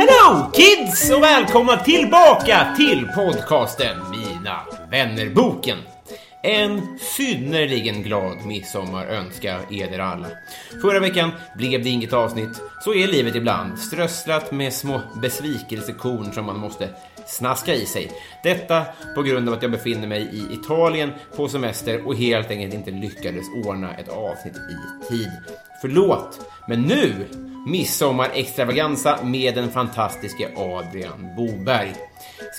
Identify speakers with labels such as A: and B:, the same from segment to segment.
A: Hello kids och välkomna tillbaka till podcasten Mina vännerboken. En synnerligen glad midsommar önskar eder alla. Förra veckan blev det inget avsnitt. Så är livet ibland, strösslat med små besvikelsekorn som man måste snaska i sig. Detta på grund av att jag befinner mig i Italien på semester och helt enkelt inte lyckades ordna ett avsnitt i tid. Förlåt, men nu midsommarextravaganza med den fantastiske Adrian Boberg.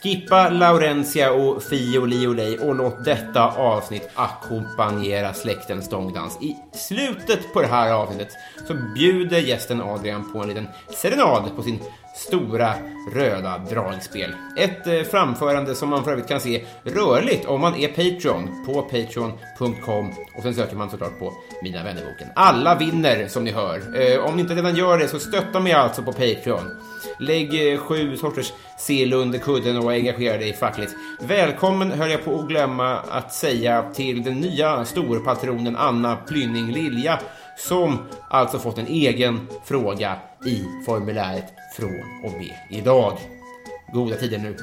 A: Skippa Laurentia och Fio Liolej och låt detta avsnitt ackompanjera släktens stångdans. I slutet på det här avsnittet så bjuder gästen Adrian på en liten serenad på sin stora röda dragspel. Ett eh, framförande som man för övrigt kan se rörligt om man är Patreon på patreon.com och sen söker man såklart på Mina vännerboken. Alla vinner som ni hör. Eh, Om ni inte redan gör det så stötta mig alltså på Patreon. Lägg eh, sju sorters sill under kudden och engagera dig fackligt. Välkommen höll jag på att glömma att säga till den nya storpatronen Anna Plynning Lilja som alltså fått en egen fråga i formuläret från och med idag. Goda tider nu.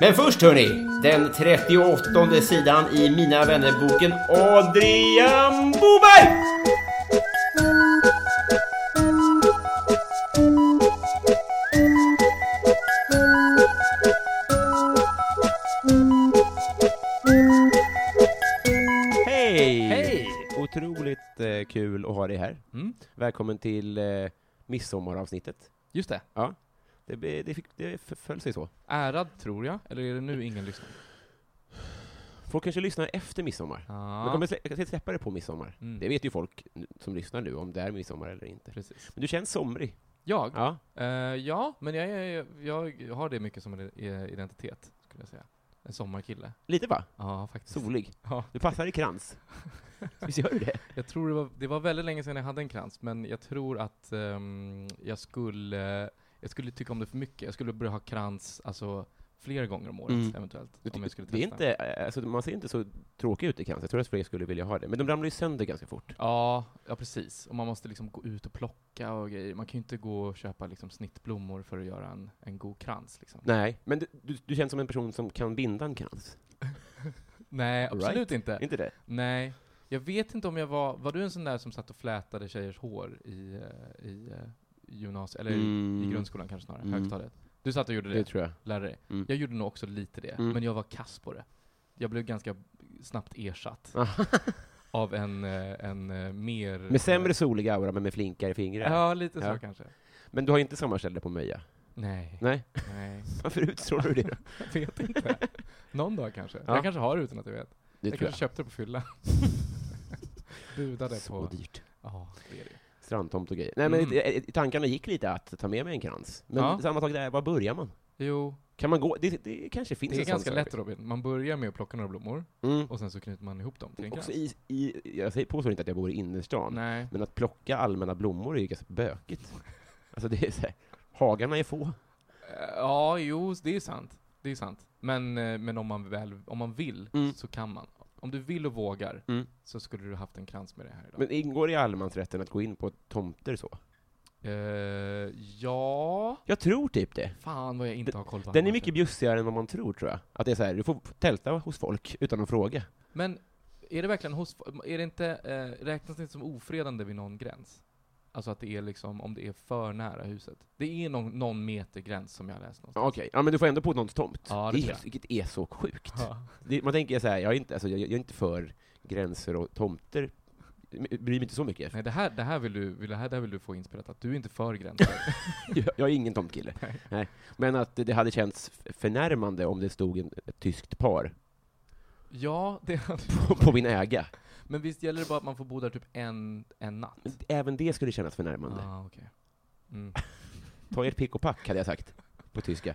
A: Men först hörni, den 38 sidan i Mina vännerboken Adrian Boberg!
B: Hej!
A: Hej!
B: Otroligt eh, kul att ha dig här.
C: Mm,
B: Välkommen till eh, midsommaravsnittet.
C: just det.
B: Ja, det, be- det, fick, det f- föll sig så.
C: Ärad, tror jag. Eller är det nu ingen lyssnar?
B: Folk kanske lyssnar efter midsommar. Jag
C: Ja,
B: kommer slä, jag kanske släppa det på midsommar.
C: Mm.
B: Det vet ju folk n- som lyssnar nu, om det är midsommar eller inte.
C: precis.
B: Men du känns somrig.
C: Jag?
B: Ja.
C: Eh, ja, men jag, är, jag har det mycket som en i- identitet, skulle jag säga. En sommarkille.
B: Lite va?
C: Ja, faktiskt.
B: Solig.
C: Ja,
B: Du passar i krans. Visst gör du det?
C: jag tror det var, det var väldigt länge sedan jag hade en krans, men jag tror att ehm, jag skulle jag skulle tycka om det för mycket. Jag skulle börja ha krans, alltså fler gånger om året
B: Mm.
C: eventuellt.
B: Du
C: Om jag
B: tycker-
C: skulle
B: det är
C: testa.
B: inte, eh, alltså, man ser inte så tråkig ut i krans. Jag tror att fler skulle vilja ha det. Men de ramlar ju sönder ganska fort.
C: Ja, ja precis. Och man måste liksom gå ut och plocka och grejer. Man kan ju inte gå och köpa liksom snittblommor för att göra en, en god krans liksom.
B: Nej, men du, du, du känns som en person som kan binda en krans.
C: Nej,
B: All
C: absolut inte.
B: Inte det?
C: Nej. Jag vet inte om jag var, var du en sån där som satt och flätade tjejers hår i, eh, i eh, gymnasiet, eller i
B: Mm.
C: grundskolan kanske snarare,
B: Mm.
C: högstadiet? Du satt och gjorde det,
B: Det tror jag.
C: lärde dig.
B: Mm.
C: Jag gjorde nog också lite det,
B: Mm.
C: men jag var kass på det. Jag blev ganska snabbt ersatt
B: Ah.
C: av en, eh, en eh, mer...
B: Med sämre soliga aura, men med flinkare fingrar.
C: Ja, lite
B: Ja.
C: så kanske.
B: Men du har inte samma ställe på Möja?
C: Nej,
B: Nej.
C: nej.
B: Varför utstrålar du det då?
C: Jag vet inte. Någon dag kanske.
B: Ja.
C: Jag kanske har det utan att jag vet.
B: Det
C: jag kanske köpte det på fylla. Budade
B: Så
C: på...
B: dyrt.
C: Ja, det är det.
B: Strandtomt och grejer. Nej, men
C: Mm.
B: i- i- i tankarna gick lite att ta med mig en krans. Men
C: Ja.
B: samma sak där, var börjar man?
C: Jo,
B: Kan man gå? Det, det kanske finns
C: det är
B: en sån
C: ganska
B: service.
C: lätt Robin. Man börjar med att plocka några blommor,
B: Mm.
C: och sen så knyter man ihop dem till en krans.
B: Också i, i, jag säger- påstår inte att jag bor i innerstan,
C: Nej.
B: men att plocka allmänna blommor är ju ganska bökigt. Alltså det är så här, hagarna är få.
C: Eh, Ja, jo, det är sant. Det är sant. Men, eh, men om man väl, om man vill,
B: Mm.
C: så kan man. Om du vill och vågar,
B: Mm.
C: så skulle du haft en krans med det här idag.
B: Men ingår i allemansrätten att gå in på tomter så?
C: Eh, ja...
A: Jag tror typ det.
C: Fan vad jag inte har koll på
A: Den är
C: annars.
A: mycket bjussigare än vad man tror, tror jag. Att det är så här, du får tälta hos folk utan att fråga.
C: Men är det verkligen hos... Är det inte, eh, räknas det inte som ofredande vid någon gräns? Alltså att det är liksom, om det är för nära huset. Det är någon, någon meter gräns som jag har läst någonstans.
A: Okej, ja men du får ändå på någons tomt.
C: Ja, det
A: det
C: tror
A: är,
C: jag.
A: vilket är så sjukt.
C: Ja.
A: Det, man tänker så här, jag är, inte, alltså, jag, jag är inte för gränser och tomter. Jag bryr mig inte så mycket.
C: Nej, det här, det, här vill du, vill, det här det här vill du få inspelat, att du är inte för gränser.
A: Jag- Jag är ingen tomtkille.
C: Nej.
A: Nej. Men att det hade känts f- förnärmande om det stod en, ett tyskt par
C: ja, det
A: på, på min äga.
C: Men visst gäller det bara att man får bo där typ en, en natt?
A: Men Även det skulle kännas förnärmande.
C: Ah, okej. Mm.
A: Ta ert pick och pack, hade jag sagt. På tyska.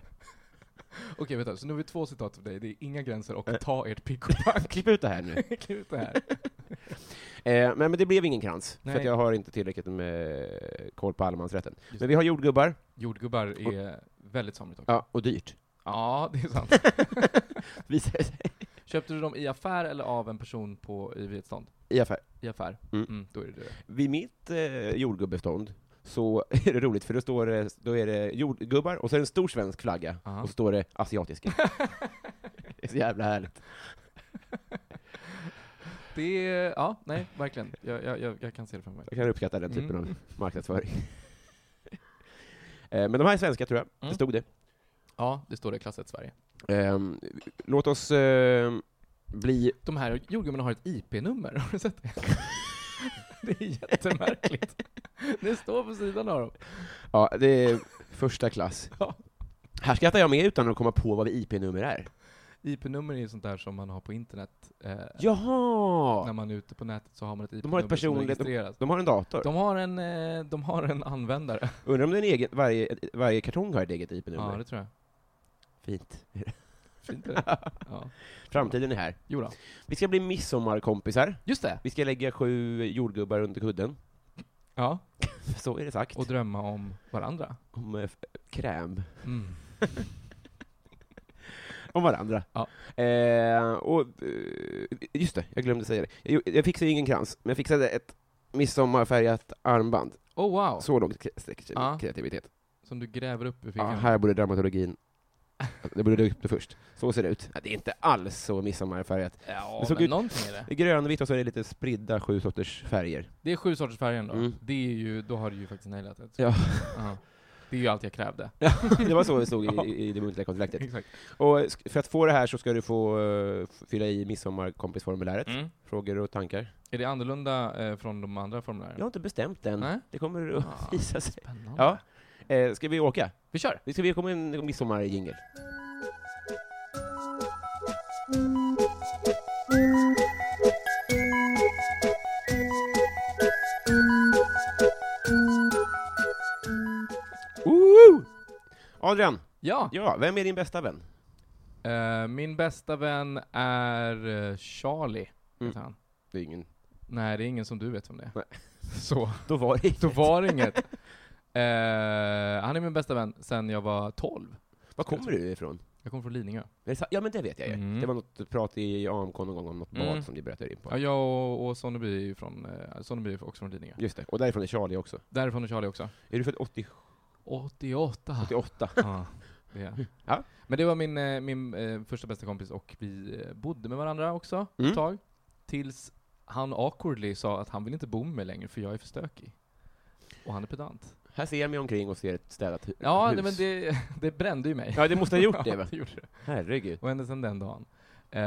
C: Okej, vänta. Så nu har vi två citat för dig. Det är inga gränser och ta ert pick och pack.
A: Klipp ut det här nu.
C: Klipp ut det här.
A: Eh, men, men det blev ingen krans,
C: Nej.
A: för att jag har inte tillräckligt med koll på allemansrätten.
C: Just
A: Men vi har jordgubbar,
C: Jordgubbar är väldigt somrigt också.
A: ja, och dyrt.
C: Ja, det är sant.
A: Visar det sig
C: Köpte du dem i affär eller av en person på, i vid ett stånd?
A: i affär.
C: I affär?
A: Mm.
C: då är det det.
A: Vid mitt eh, jordgubbestånd så är det roligt, för då, står det, då är det jordgubbar, och så är det en stor svensk flagga,
C: Aha.
A: och så står det asiatiska. det är så jävla härligt.
C: Det är, ja, nej, verkligen. Jag, jag, jag, jag kan se det framför mig.
A: Jag kan uppskatta den typen
C: Mm.
A: av marknadsföring. eh, men de här är svenska, tror jag.
C: Mm.
A: Det stod det.
C: Ja, det står det i klass 1 Sverige.
A: Ehm, låt oss eh, bli...
C: De här jordgubbarna har ett IP-nummer, har du sett det? Det är jättemärkligt. Det står på sidan av dem.
A: Ja, det är första klass.
C: Ja.
A: Här skrattar jag med utan att komma på vad IP-nummer är.
C: IP-nummer är ju sånt där som man har på internet. Eh, När
A: Jaha!
C: man är ute på nätet så har man ett IP-nummer
A: De har ett
C: som
A: personligt-
C: registreras.
A: De har en dator.
C: De har en, eh, de har en användare.
A: Undrar om den egen, varje, varje kartong har ett eget
C: Ja,
A: IP-nummer.
C: det tror jag.
A: Fint.
C: Fint är det. Ja.
A: Framtiden är här.
C: Jo då.
A: Vi ska bli midsommarkompisar.
C: Just det!
A: Vi ska lägga sju jordgubbar under kudden.
C: Ja,
A: Så är det sagt.
C: och drömma om varandra.
A: Om eh, f- kräm.
C: Mm.
A: Om varandra.
C: Ja.
A: Eh, och, eh, just det, jag glömde säga det. Jag, jag fixade ingen krans, men jag fixade ett midsommarfärgat armband.
C: Oh wow!
A: Så långt kre- sträcker
C: Ja.
A: sig kreativitet.
C: Som du gräver upp ur
A: Ja,
C: fickan.
A: här borde dramaturgin... Det borde du upp det först. Så ser det ut. Ja, det är inte alls så midsommarfärgat.
C: Ja,
A: Det såg
C: men
A: ut-
C: någonting är det.
A: Det är grönvitt och så är det lite spridda sju sorters färger.
C: Det är sju sorters färger ändå.
A: Mm.
C: Det är ju, då har du ju faktiskt nailat det.
A: Ja.
C: Ja. Det är ju allt jag krävde.
A: det var så det stod i, i det muntliga kontraktet.
C: Exakt.
A: Och sk- för att få det här så ska du få eh, f- fylla i midsommarkompisformuläret.
C: Mm.
A: Frågor och tankar.
C: Är det annorlunda eh, från de andra formulären?
A: Jag har inte bestämt än.
C: Nej?
A: Det kommer att
C: Ah.
A: visa sig.
C: Spännande.
A: Ja. Eh, ska vi åka?
C: Vi kör!
A: Vi ska vi komma in en midsommarjingel? Woo! Adrian,
C: Ja!
A: ja, vem är din bästa vän?
C: Eh, min bästa vän är eh, Charlie, heter han.
A: Det är ingen.
C: Nej, det är ingen som du vet om det är.
A: Mm. Nej.
C: Så,
A: Då var det
C: då var det inget. Eh, han är min bästa vän sen jag var 12.
A: Var kommer du ifrån?
C: Jag kommer från Lidingö.
A: Är det sa- Ja, men det vet jag ju.
C: Mm.
A: Det var något prat i AMK någon gång om något
C: Mm.
A: bad som du berättade in på.
C: Ja, jag och, och Sonneby är ju från, eh, Sonneby är också från Lidingö.
A: Just det. Och därifrån är Charlie också.
C: Därifrån är Charlie också.
A: Är du född 80,
C: 88.
A: 88?
C: Ja, det är.
A: Ja.
C: Men det var min, eh, min eh, första bästa kompis och vi eh, bodde med varandra också ett
A: Mm.
C: tag. Tills han awkwardly sa att han vill inte bo med mig längre för jag är för stökig. Och han är pedant.
A: Här ser jag mig omkring och ser ett städat hu-
C: Ja,
A: hus.
C: nej, men det, det brände ju mig.
A: Ja, det måste ha gjort det, va?
C: det gjorde det.
A: Herregud.
C: Och ända sedan den dagen. Eh,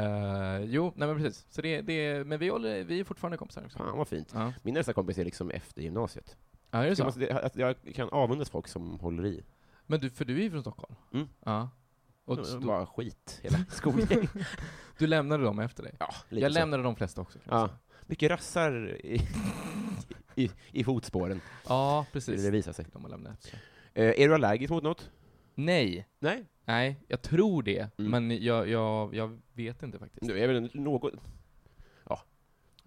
C: jo, nej men precis. Så det, det, men vi, håller, vi är fortfarande kompisar också.
A: Fan vad fint.
C: Ja,
A: Min nästa kompis är liksom efter gymnasiet.
C: ja är det
A: Jag,
C: så?
A: måste, det- att jag kan avundas folk som håller i.
C: Men du, för du är ju från Stockholm?
A: Mm.
C: Ja. Och
A: Det
C: du,
A: var skit, hela skolgänget.
C: du lämnade dem efter dig?
A: ja, lite
C: Jag
A: så.
C: lämnade de flesta också. kan man
A: Ja.
C: säga.
A: Mycket rassar i, i, i fotspåren,
C: ja
A: skulle
C: precis.
A: det visa sig.
C: De har lämnat efter sig.
A: Eh, är du allergisk mot något?
C: Nej.
A: Nej.
C: Nej, jag tror det.
A: Mm.
C: Men jag, jag, jag vet inte faktiskt.
A: Du är väl något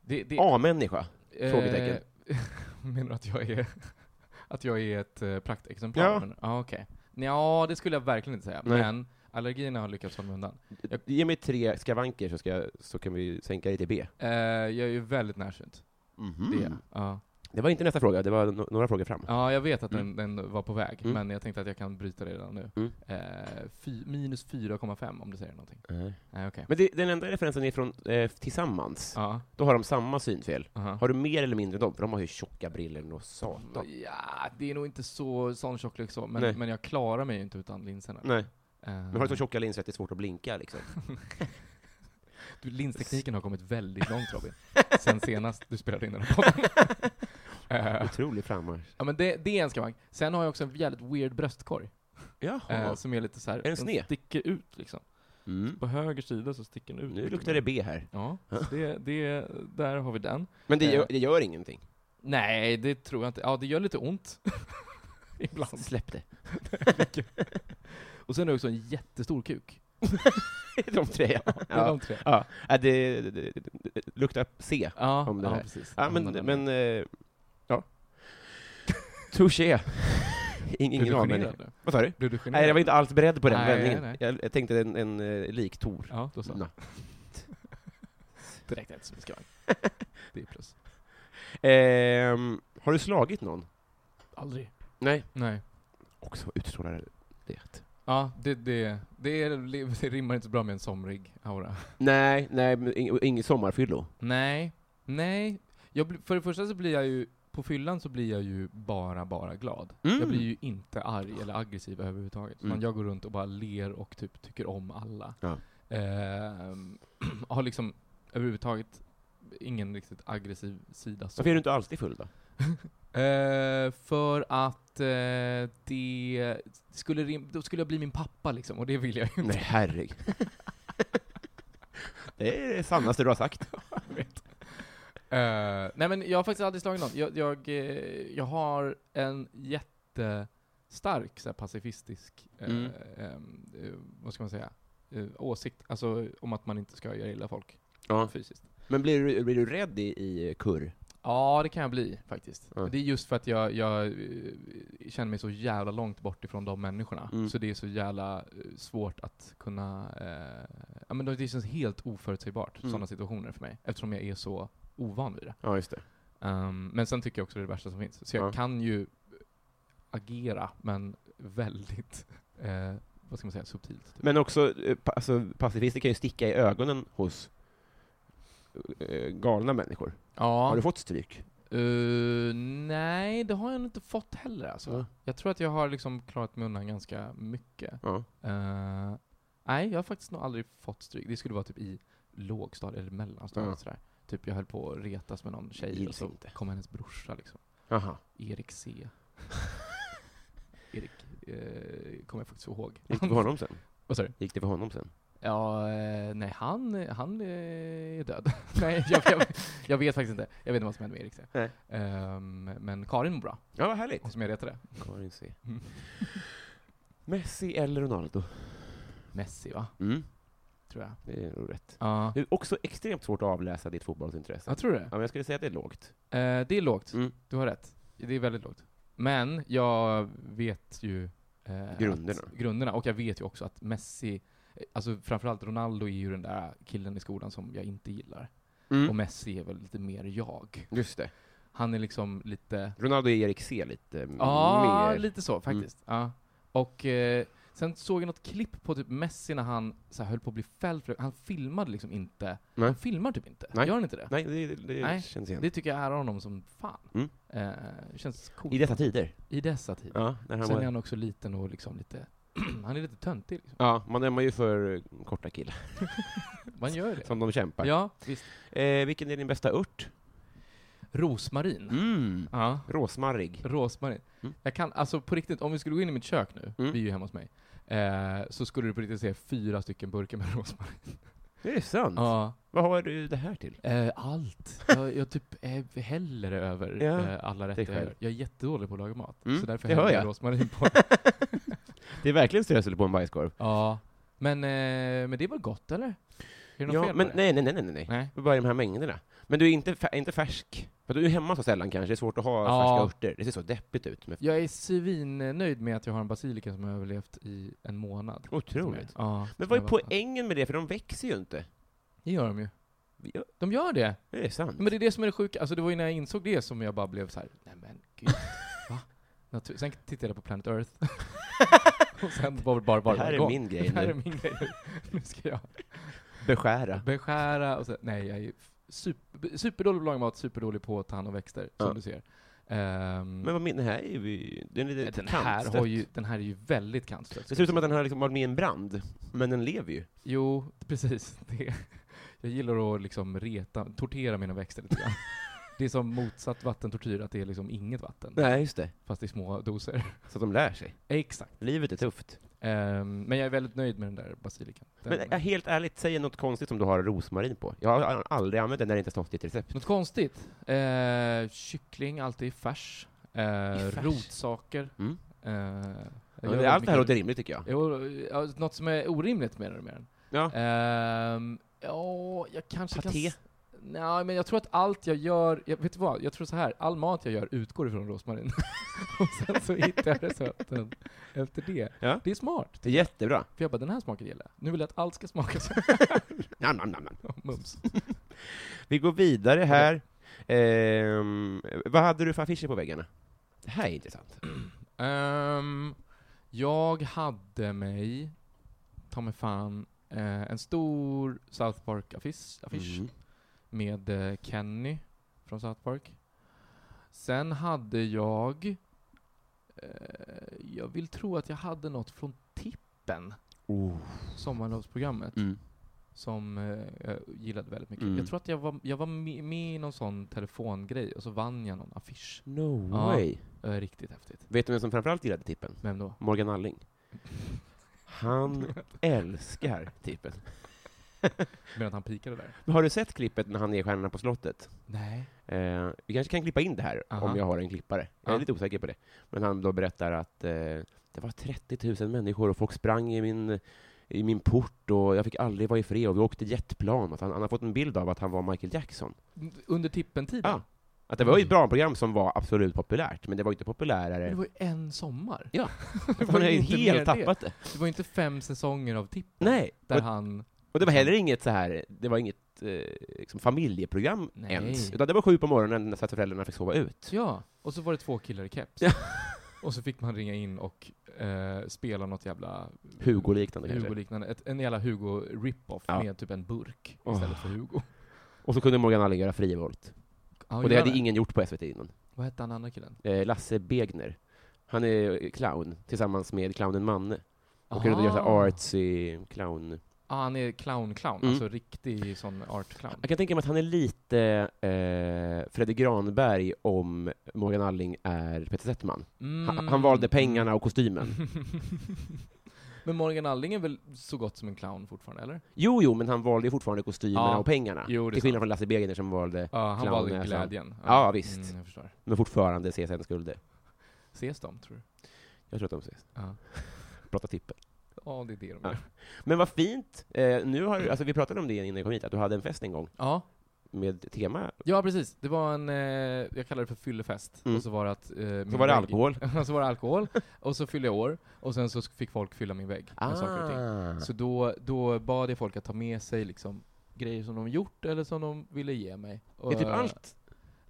C: Det, det,
A: A-människa?
C: eh,
A: Ah, frågetecken.
C: menar du att jag är, att jag är ett eh, praktexemplar?
A: Ja.
C: Men, ah, okej. Ja, det skulle jag verkligen inte säga.
A: Nej.
C: Men allergierna har lyckats hålla mig undan. Jag-
A: Ge mig tre skavanker så, ska jag, så kan vi sänka dig till B. Mm.
C: Eh, jag är ju väldigt närsynt. Det är jag. Ja.
A: Det var inte nästa fråga, det var no- några frågor fram.
C: Ja, jag vet att den, den var på väg,
A: Mm.
C: men jag tänkte att jag kan bryta det redan nu.
A: Mm.
C: Eh, fy, minus 4,5 om du säger någonting.
A: Nej.
C: Nej, okej.
A: Men det, den enda referensen är från eh, Tillsammans.
C: Ja,
A: Då har de samma synfel.
C: aha.
A: Har du mer eller mindre än dem? För de har ju tjocka brillor och satan.
C: Ja, det är nog inte så sån tjocklek så,
A: Nej.
C: men, men jag klarar mig ju inte utan linserna.
A: Nej,
C: Eh,
A: men har du så tjocka linser att det är svårt att blinka liksom?
C: du, linstekniken har kommit väldigt långt Robin, sen senast du spelade in den här podden. Eh,
A: Otrolig frammarsch.
C: Ja men det, det är en skavank. Sen har jag också en jävligt weird bröstkorg,
A: Jaha.
C: eh, som är lite så här,
A: den sned?
C: sticker ut liksom.
A: Mm.
C: På höger sida så sticker den ut.
A: Nu
C: lite
A: luktar det
C: grann.
A: B här.
C: Ja, så det, det, där har vi den.
A: Men det
C: Eh.
A: gör, det gör ingenting.
C: Nej, det tror jag inte. Ja, det gör lite ont. Ibland.
A: Släpp det.
C: Och sen har jag också en jättestor kuk.
A: de tre. Ja.
C: Det är de tre.
A: Ja. Ja, det, det, det, det luktar C.
C: Ja,
A: Om det
C: ja
A: här.
C: precis.
A: Ja, men,
C: Den där.
A: men eh, ja. Touché.
C: Blev
A: Ingen
C: du
A: aning.
C: generad nu?
A: Vad sa du?
C: Blev du generad?
A: Nej, jag var inte alls beredd på den
C: Nej,
A: vändningen.
C: nej.
A: Jag, jag tänkte en, en eh, lik Tor.
C: Ja, då så.
A: Nå.
C: Det räknar inte som en skavank. Det är plus.
A: Ehm, har du slagit någon?
C: Aldrig.
A: Nej.
C: Nej.
A: Också utstrålar det.
C: Ja, det, det, det, är, det rimmar inte så bra med en somrig aura.
A: Nej, nej, men ing- och ingen sommarfyllo.
C: Nej, nej. Jag, blir- för det första så blir jag ju, på fyllan så blir jag ju bara, bara glad.
A: Mm.
C: Jag blir ju inte arg eller aggressiv överhuvudtaget.
A: Mm.
C: Utan jag går runt och bara ler och typ tycker om alla.
A: Ja.
C: Ehm, har liksom överhuvudtaget ingen riktigt aggressiv sida. så.
A: Varför är du inte alltid full då?
C: Eh, för att eh, det skulle, rim- då skulle jag bli min pappa liksom, och det vill jag ju inte.
A: Nej, herregud. det är det sannaste du har sagt.
C: Eh, nej men jag har faktiskt aldrig slagit någon. Jag, jag, eh, jag har en jättestark så här, pacifistisk, eh,
A: Mm.
C: ehm, eh, vad ska man säga, eh, åsikt. Alltså om att man inte ska göra illa folk
A: Ja.
C: fysiskt.
A: Men blir du, blir du rädd i, i kurr?
C: Ja, det kan jag bli faktiskt.
A: Ja.
C: Det är just för att jag, jag eh, känner mig så jävla långt bort ifrån de människorna.
A: Mm.
C: Så det är så jävla eh, svårt att kunna... Eh, ja, men det känns helt oförutsägbart,
A: Mm.
C: sådana situationer för mig. Eftersom jag är så ovan vid det.
A: Ja, just det.
C: Ehm, men sen tycker jag också det är det värsta som finns. Så jag
A: Ja.
C: kan ju agera, men väldigt, eh, vad ska man säga, subtilt. Typ.
A: Men också, eh, pa- alltså, pacifister kan ju sticka i ögonen hos eh, galna människor.
C: ja.
A: Har du fått stryk?
C: Eh, nej, det har jag nog inte fått heller alltså.
A: Ja.
C: Jag tror att jag har liksom klarat mig undan ganska mycket.
A: Ja.
C: Eh, nej, jag har faktiskt nog aldrig fått stryk. Det skulle vara typ i lågstadiet eller mellanstadiet
A: Ja.
C: sådär. Typ jag höll på att retas med någon tjej och
A: Gills
C: så
A: inte.
C: kom hennes brorsa liksom.
A: Jaha.
C: Erik C. Erik, eh, kommer jag faktiskt ihåg.
A: Gick det för honom sen?
C: Vad sa du?
A: Gick det för honom sen?
C: Ja, eh, nej han, han eh, är död. nej, jag, jag, jag vet faktiskt inte. Jag vet inte vad som hände med Erik C.
A: Nej.
C: Ehm, men Karin mår bra,
A: Ja, vad härligt.
C: hon som jag retade.
A: Karin C.
C: Mm.
A: Messi eller Ronaldo?
C: Messi va,
A: Mm.
C: tror jag.
A: Det är nog rätt.
C: Ja,
A: Det är också extremt svårt att avläsa ditt fotbollsintresse.
C: jag tror det.
A: Ja, men jag skulle säga att det är lågt.
C: Eh, det är lågt,
A: Mm.
C: du har rätt. Det är väldigt lågt. Men jag vet ju... eh,
A: Grunderna.
C: Att, grunderna, och jag vet ju också att Messi, eh, alltså framförallt Ronaldo är ju den där killen i skolan som jag inte gillar.
A: Mm.
C: Och Messi är väl lite mer jag.
A: Just det.
C: Han är liksom lite...
A: Ronaldo och Erik C lite
C: Ja,
A: mer... Mm.
C: lite så faktiskt. Ja. Och eh, sen såg jag något klipp på typ Messi när han så här, höll på att bli fälld för Han filmade liksom inte.
A: Nej.
C: Han filmar typ inte.
A: Nej.
C: Gör han inte det?
A: Nej, det, det
C: Nej,
A: känns igen.
C: Det tycker jag ärar honom som fan.
A: Mm.
C: Eh, känns coolt.
A: I dessa tider?
C: I dessa tider.
A: Ja, när han
C: Sen
A: var...
C: är han också liten och liksom lite... han är lite töntig liksom.
A: ja man ömmar ju för eh, korta killar
C: Man gör det.
A: som de kämpar.
C: Ja, visst.
A: Eh, vilken är din bästa ört?
C: Rosmarin.
A: Mm.
C: Ja.
A: Rosmarrig.
C: Rosmarin.
A: Mm.
C: Jag kan, alltså på riktigt, om vi skulle gå in i mitt kök nu,
A: Mm.
C: vi är ju hemma hos mig, eh, så skulle du på riktigt se fyra stycken burkar med rosmarin.
A: Det är sant.
C: Ja.
A: Vad har du det här till?
C: Eh, allt. Jag, jag typ är häller över
A: Ja,
C: eh, alla rätter jag
A: själv.
C: gör. Jag är jättedålig på att laga mat,
A: Mm,
C: så därför
A: det hör
C: häller jag
A: jag.
C: rosmarin på.
A: Det är verkligen strössel på en bajskorv.
C: ja. Men, eh, men det var gott eller? Är det något fel
A: men
C: på
A: nej,
C: det?
A: nej, nej, nej, nej.
C: nej.
A: Bara i de här mängderna. Men du är inte, fär- inte färsk? För du är hemma så sällan kanske, det är svårt att ha
C: Ja.
A: färska örter. Det ser så deppigt ut. Med
C: Jag är svinnöjd med att jag har en basilika som har överlevt i en månad.
A: Otroligt.
C: Ja,
A: Men
C: som
A: vad är
C: jag bara-
A: poängen med det? För de växer ju inte.
C: Det gör de ju.
A: Ja,
C: De gör det!
A: det är sant.
C: Men det är det som är det sjuka. Alltså det var ju när jag insåg det som jag bara blev så här: nej men gud, va? Natur- sen tittade jag på Planet Earth. Och sen bara, bara, bara
A: det här är
C: igång.
A: min grej
C: Det här är
A: nu.
C: min grej nu. Nu ska jag
A: Beskära.
C: beskära och sen, nej jag är super, superdålig på lagmat, superdålig på att ta hand om växter,
A: Ja.
C: som du ser. Ehm,
A: Men vad min, den här är ju... Den är lite
C: den, här
A: kantstött.
C: har ju, den här är ju väldigt kantstött.
A: Det
C: ska
A: ser
C: jag
A: ut som att
C: säga.
A: den har liksom varit med i en brand, men den lever ju.
C: Jo, precis. Det. Jag gillar att liksom reta, tortera mina växter lite grann. Det är som motsatt vattentortyr, att det är liksom inget vatten,
A: Nej, just det.
C: fast i små doser.
A: Så att de lär sig.
C: Exakt.
A: Livet är tufft.
C: Ehm, men jag är väldigt nöjd med den där basilikan. Den,
A: Men äh, helt ärligt, säg något konstigt som du har rosmarin på. Jag har aldrig använt den när det inte stått i ett recept.
C: Något konstigt? Uh, kyckling, alltid i färs. Eh,
A: färs?
C: Rotsaker.
A: Mm.
C: Eh, jag
A: Men
C: gör
A: det-
C: väldigt
A: Allt det här
C: mycket-
A: låter rimligt tycker jag.
C: Jo, ja, något som är orimligt menar du med den?
A: Ja.
C: Ehm, ja, jag kanske
A: Paté?
C: kan... s- Nej, men jag tror att allt jag gör, jag, vet du vad? Jag tror så här, all mat jag gör utgår ifrån rosmarin. och sen så hittar jag recepten efter det.
A: Ja.
C: Det är smart.
A: Det är jättebra.
C: För jag bara, den här smaken gillar jag. Nu vill jag att allt ska smaka så.
A: Nam, nam, nam, nam.
C: Mums.
A: Vi går vidare här. Ehm, vad hade du för affischer på väggarna? Det här är intressant.
C: Ehm, jag hade mig, ta mig fan, eh, en stor South Park-affisch affisch
A: Mm.
C: med eh, Kenny från South Park. Sen hade jag, eh, jag vill tro att jag hade något från Tippen, sommarlovsprogrammet,
A: Mm.
C: som eh, jag gillade väldigt mycket.
A: Mm.
C: Jag tror att jag var, jag var med, med i någon sån telefongrej, och så vann jag någon affisch.
A: No
C: Ja.
A: way.
C: Eh, riktigt häftigt.
A: Vet du vem som framförallt gillade tippen?
C: Vem då?
A: Morgan Alling. Han älskar tippen.
C: Medan han pikade där?
A: Men Har du sett klippet när han är Stjärnorna på slottet?
C: Nej.
A: Eh, vi kanske kan klippa in det här,
C: Aha.
A: om jag har en klippare. Jag är
C: Ja.
A: lite osäker på det. Men han då berättar att eh, det var 30 000 människor och folk sprang i min, i min port och jag fick aldrig vara i fred och vi åkte jetplan. Att han, han har fått en bild av att han var Michael Jackson.
C: Under tippen-tiden?
A: Ja. Att det var ju ett bra program som var absolut populärt, men det var ju inte populärare.
C: Mm. Men Det var ju en sommar.
A: eh. Ja.
C: det
A: Han
C: var
A: har
C: ju
A: ju
C: inte
A: helt
C: mer det.
A: tappat det.
C: Det var ju inte fem säsonger av tippen.
A: Nej.
C: Där
A: Och-
C: han...
A: Och det var heller inget så här, det var inget eh, liksom familjeprogram
C: Nej.
A: ens, utan det var sju på morgonen så att föräldrarna fick sova ut.
C: Ja. Och så var det två killar i keps.
A: Ja.
C: Och så fick man ringa in och eh, spela något jävla...
A: Hugo-liknande kanske.
C: Hugo-liknande. Ett, en jävla Hugo-rip-off
A: Ja.
C: med typ en burk
A: Åh.
C: istället för Hugo.
A: Och så kunde Morgan Alling göra frivolt.
C: Ja,
A: och det
C: gör
A: hade ingen gjort på SVT innan.
C: Vad hette han andra killen?
A: Eh, Lasse Begner. Han är eh, clown, tillsammans med clownen Manne. Och kunde
C: Aha.
A: göra så här artsy clown.
C: Ja, Ah. han är clown-clown.
A: Mm.
C: Alltså riktig sån art-clown.
A: Jag kan tänka mig att han är lite eh, Fredrik Granberg om Morgan Alling är Peter Settman.
C: Mm.
A: Han, han valde pengarna och kostymen.
C: Men Morgan Alling är väl så gott som en clown fortfarande, eller?
A: Jo, jo, men han valde ju fortfarande kostymerna
C: Ja.
A: och pengarna.
C: Jo, det är
A: till skillnad
C: sant.
A: från Lasse Begner som valde,
C: Ja, han
A: Clown är
C: valde
A: clown.
C: glädjen.
A: Ja, visst.
C: Mm, jag förstår.
A: men fortfarande CSN-skulder.
C: Ses de, tror du?
A: Jag tror att de ses.
C: Ja.
A: Prata tippen.
C: Ja, det är det de
A: Ja.
C: gör.
A: Men vad fint! Eh, nu har, alltså, vi pratade om det innan jag kom hit, att du hade en fest en gång
C: Ja.
A: med tema.
C: ja, precis. Det var en, eh, jag kallar det för fyllefest.
A: Mm.
C: Och så var det att... Eh, min
A: Så var det
C: vägg-
A: alkohol.
C: så var det alkohol, och så fyllde jag år, och sen så fick folk fylla min vägg
A: Ah.
C: med saker och ting. Så då, då bad jag folk att ta med sig liksom grejer som de gjort eller som de ville ge mig.
A: det är typ
C: Och-
A: allt.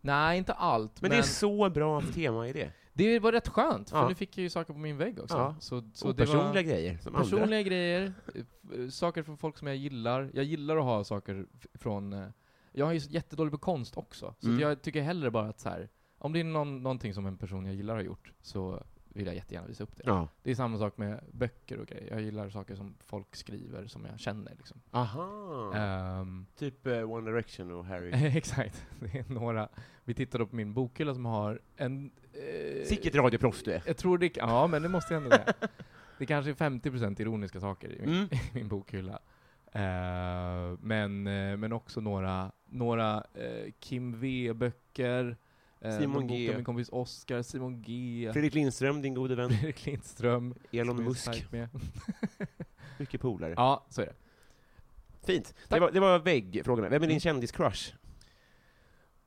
C: Nej, inte allt.
A: Men, det
C: Men,
A: är så bra tema i det.
C: det var rätt skönt, för
A: Ja.
C: nu fick jag ju saker på min vägg också.
A: Ja.
C: Så, så
A: Så
C: det
A: personliga
C: var...
A: grejer. Som andra.
C: Personliga grejer, eh, f- saker från folk som jag gillar. Jag gillar att ha saker f- från... eh, Jag är ju så jättedålig på konst också, så
A: Mm.
C: att jag tycker hellre bara att så här, om det är någon, någonting som en person jag gillar har gjort, så vill jag jättegärna visa upp det.
A: Ja.
C: Det är samma sak med böcker och grejer. Jag gillar saker som folk skriver, som jag känner liksom.
A: Aha.
C: Ehm,
A: Eh, Typ eh, One Direction och Harry.
C: exakt. Det är några... Vi tittade på min bokhylla som har en... eh,
A: Sicket radioproffs du är.
C: Jag tror det... Ja, men det måste jag ändå säga. Det kanske är 50% ironiska saker i min,
A: Mm.
C: i min bokhylla. Eh, men, eh, men också några, några eh, Kim V-böcker, eh,
A: Simon
C: någon bok
A: G.
C: av min kompis Oscar, Simon G,
A: Fredrik Lindström, din gode vän.
C: Fredrik Lindström. som
A: Elon
C: jag är
A: Musk.
C: stark Med.
A: Mycket polare.
C: Ja, så är det.
A: Fint. Det var, det var väggfrågorna. Vem är
C: Mm.
A: din kändiscrush?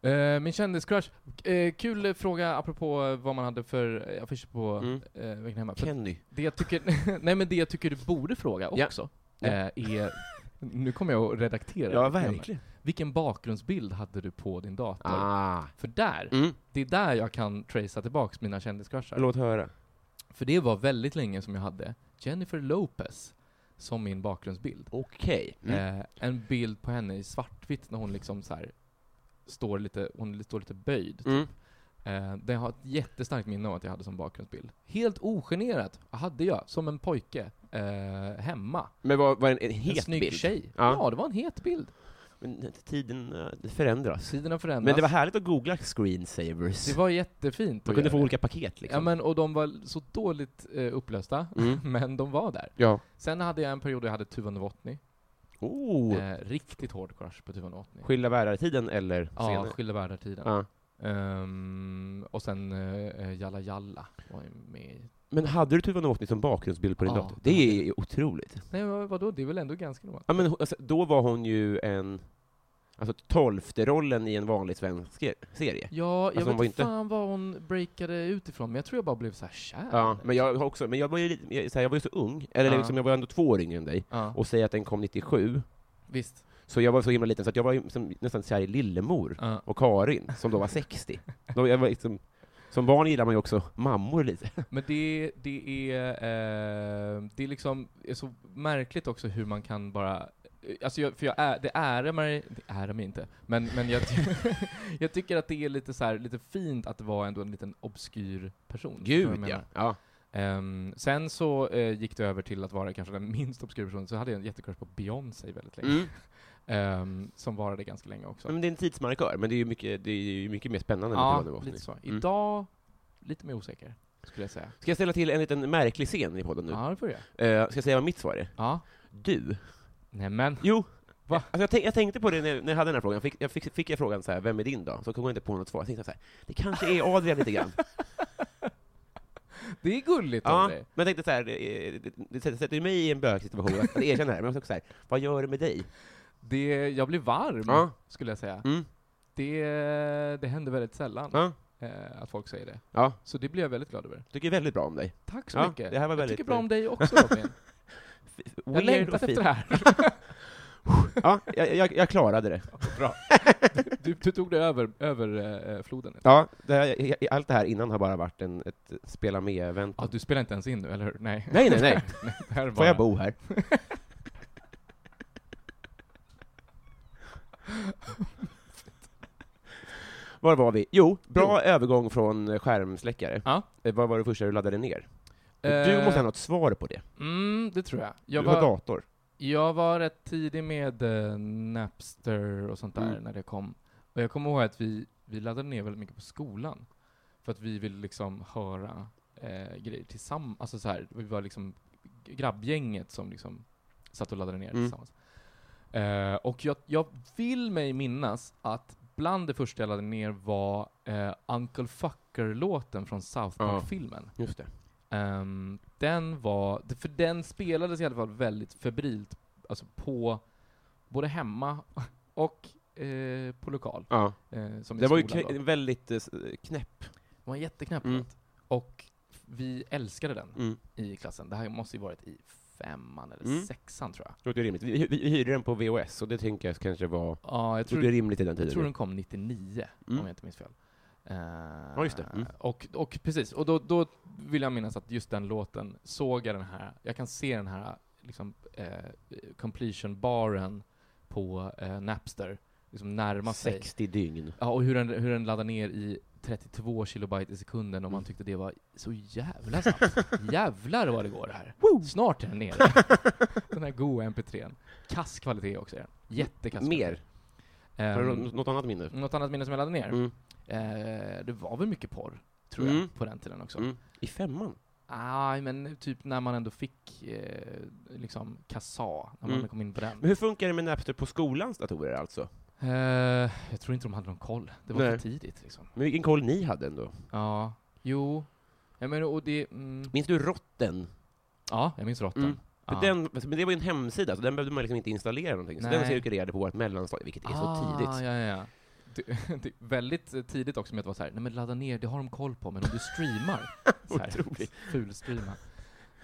C: Eh, min kändiscrush. Eh, kul fråga apropå vad man hade för eh, affischer på
A: Mm.
C: eh, vägen hemma. För
A: Kenny.
C: det, jag tycker, nej, men det jag tycker du borde fråga
A: Ja.
C: också
A: Ja.
C: eh, är... Nu kommer jag att redaktera.
A: Ja,
C: det här.
A: verkligen.
C: Vilken bakgrundsbild hade du på din dator?
A: Ah.
C: För där,
A: Mm.
C: det är där jag kan tracea tillbaks mina kändiscrushar.
A: Låt höra.
C: För det var väldigt länge som jag hade Jennifer Lopez som min bakgrundsbild.
A: Okej. Mm.
C: Eh, en bild på henne i svartvitt när hon liksom så här står lite, hon står lite böjd.
A: Mm.
C: Eh, den har ett jättestarkt minne av att jag hade som bakgrundsbild. Helt ogenerat hade jag, som en pojke, eh, hemma.
A: Men var, var en, en het
C: en snygg
A: bild?
C: tjej.
A: Ja.
C: Ja. det var en het bild.
A: Men tiden eh, det förändras.
C: Sidorna förändras.
A: Men det var härligt att googla screensavers.
C: det var jättefint
A: Man
C: att
A: kunde få
C: göra det.
A: olika paket liksom.
C: Ja, men, och de var så dåligt eh, upplösta,
A: Mm.
C: men de var där.
A: Ja.
C: Sen hade jag en period där jag hade Tuva Novotny.
A: Oh.
C: Eh, riktigt hård crush på Tuva Novotny.
A: Skilda världar-tiden eller
C: Ja,
A: senare?
C: Skilda världar-tiden.
A: Ja.
C: Ehm, och sen eh, Jalla Jalla var ju med i.
A: Men hade du Tuva Novotny som bakgrundsbild på din
C: Ja,
A: dator?
C: det
A: Det
C: hade
A: är otroligt.
C: Nej, vad- vadå? Det är väl ändå ganska normalt?
A: Ja, men, hon- alltså, då var hon ju en... Alltså tolfte rollen i en vanlig svensk se- serie.
C: Ja, jag
A: Alltså, hon var
C: vet
A: inte-
C: inte fan vad hon breakade utifrån, men jag tror jag bara blev så här kär.
A: Ja, men jag har också, men jag var ju lite, jag, så här, jag var ju så ung, eller
C: Ja.
A: liksom, jag var ändå två år yngre än dig,
C: Ja,
A: och säga att den kom 97,
C: visst.
A: så jag var så himla liten så att jag var ju som, nästan kär i Lillemor
C: Ja.
A: och Karin, som då var 60. Då, jag var liksom, som barn gillar man ju också mammor lite.
C: Men det, det är eh, det är liksom är så märkligt också hur man kan bara eh, Alltså jag, för jag är, det ärar mig, det ärar mig inte, men, men jag, ty- jag tycker att det är lite så här, lite fint att det var ändå en liten obskyr person. förstår du vad jag
A: Gud
C: menar?
A: ja! ja.
C: Ehm, sen så eh, gick det över till att vara kanske den minst obskyra personen, så hade jag en jättecrush på Beyoncé väldigt länge.
A: Mm.
C: Ehm, som varade ganska länge också.
A: Men det är en tidsmarkör, men det är ju mycket, det är ju mycket mer spännande än
C: ja,
A: Tuva Novotny.
C: lite så.
A: Mm.
C: Idag, lite mer osäker, skulle jag säga.
A: Ska jag ställa till en liten märklig scen i podden nu?
C: Ja, det får jag.
A: Eh, ska jag säga vad mitt svar är?
C: Ja.
A: Du.
C: Nämen.
A: Jo.
C: Va?
A: Alltså jag, tänk, jag tänkte på det när, när jag hade den här frågan, fick, jag fick, fick jag frågan så här, vem är din då? Så kom jag inte på något svar, jag tänkte så här, det kanske är Adrian lite grann.
C: Det är gulligt av
A: ja,
C: dig.
A: men jag tänkte så här, eh, det, det, det sätter ju mig i en bög situation att att erkänna det här, men jag också så här, vad gör det med dig?
C: Det, jag blir varm,
A: Ja.
C: skulle jag säga.
A: Mm.
C: Det, det händer väldigt sällan
A: Ja,
C: eh, att folk säger det.
A: ja,
C: Så det blir jag väldigt glad över.
A: tycker väldigt bra om dig.
C: Tack så
A: Ja,
C: mycket.
A: det här var
C: jag
A: väldigt-
C: tycker bra om dig också Robin. jag
A: Weird
C: längtat
A: och fin.
C: efter det här.
A: Ja, jag, jag, jag klarade det.
C: Bra. Du, du tog dig över, över eh, floden.
A: Ja, det här, allt det här innan har bara varit en, ett spela med-event.
C: Ja, du spelar inte ens in nu, eller hur? Nej.
A: Nej, nej, nej.
C: Det här är
A: Får
C: bara-
A: jag bo här? Var var vi? Jo, bra övergång från eh, skärmsläckare.
C: Ja.
A: Eh, Vad var det första du laddade ner? Du måste ha något svar på det.
C: Eh, Mm, det tror jag. Jag
A: du har
C: var,
A: dator.
C: jag var rätt tidig med eh, Napster och sånt där
A: Mm.
C: när det kom. Och jag kommer ihåg att vi, vi laddade ner väldigt mycket på skolan. För att vi ville liksom höra eh, grejer tillsammans. Alltså så här, vi var liksom grabbgänget som liksom satt och laddade ner
A: Mm.
C: tillsammans. Eh, och jag, jag vill mig minnas att bland det första jag laddade ner var eh, Uncle Fucker-låten från South
A: Ja.
C: Park-filmen.
A: Just det.
C: Ehm, den var, för den spelades i alla fall väldigt febrilt, alltså på, både hemma och eh, på lokal.
A: Ja.
C: Eh, som i
A: Det var ju
C: skolan
A: kn-
C: då.
A: väldigt eh, s- knäpp.
C: Det var en jätteknäpp
A: Mm.
C: låt. Och vi älskade den
A: Mm.
C: i klassen. Det här måste ju varit i femman eller
A: Mm.
C: sexan tror jag.
A: Det låter ju rimligt. Vi, vi, vi hyrde den på VHS, och det tänker jag kanske var...
C: Ja, jag
A: Jag tror,
C: tror,
A: det är rimligt i den tiden.
C: jag tror den kom 99,
A: Mm.
C: om jag inte minns fel. Eh,
A: Ja, just det. Mm.
C: och, och precis, och då, då vill jag minnas att just den låten såg jag den här, jag kan se den här liksom, eh, completion-baren på eh, Napster, liksom närma sig.
A: 60 dygn.
C: Ja, och hur den, hur den laddar ner i 32 kilobyte i sekunden och man
A: Mm.
C: tyckte det var så jävla snabbt. Jävlar vad det går det här. Snart är den nere. den här goa mp3n. Kass kvalitet också är den. Jättekass
A: Mer?
C: kvalitet.
A: Har du
C: Ehm,
A: nå- något annat minne?
C: något annat minne som jag laddade ner?
A: Mm.
C: Eh, det var väl mycket porr, tror
A: Mm.
C: jag, på den tiden också.
A: Mm. I femman?
C: Aj, men typ när man ändå fick eh, liksom kassa, när man
A: Mm.
C: kom in på den.
A: Men hur funkar det med Napster på skolans datorer alltså?
C: Eh, jag tror inte de hade någon koll. Det var
A: Nej.
C: för tidigt liksom.
A: Men vilken koll ni hade ändå?
C: Ja, jo. Jag menar, och det... Mm,
A: Minns du Rotten?
C: ja, jag minns råttan.
A: Mm.
C: Ja.
A: För den, men det var ju en hemsida, så den behövde man liksom inte installera någonting. Så
C: Nej.
A: den cirkulerade på vårt mellanstadium, vilket är så
C: Ah,
A: tidigt.
C: Ja, ja, ja. Det, det, väldigt eh, tidigt också med att vara så här, nej men ladda ner, det har de koll på, men om du streamar, så här,
A: Otroligt.
C: fulstreama.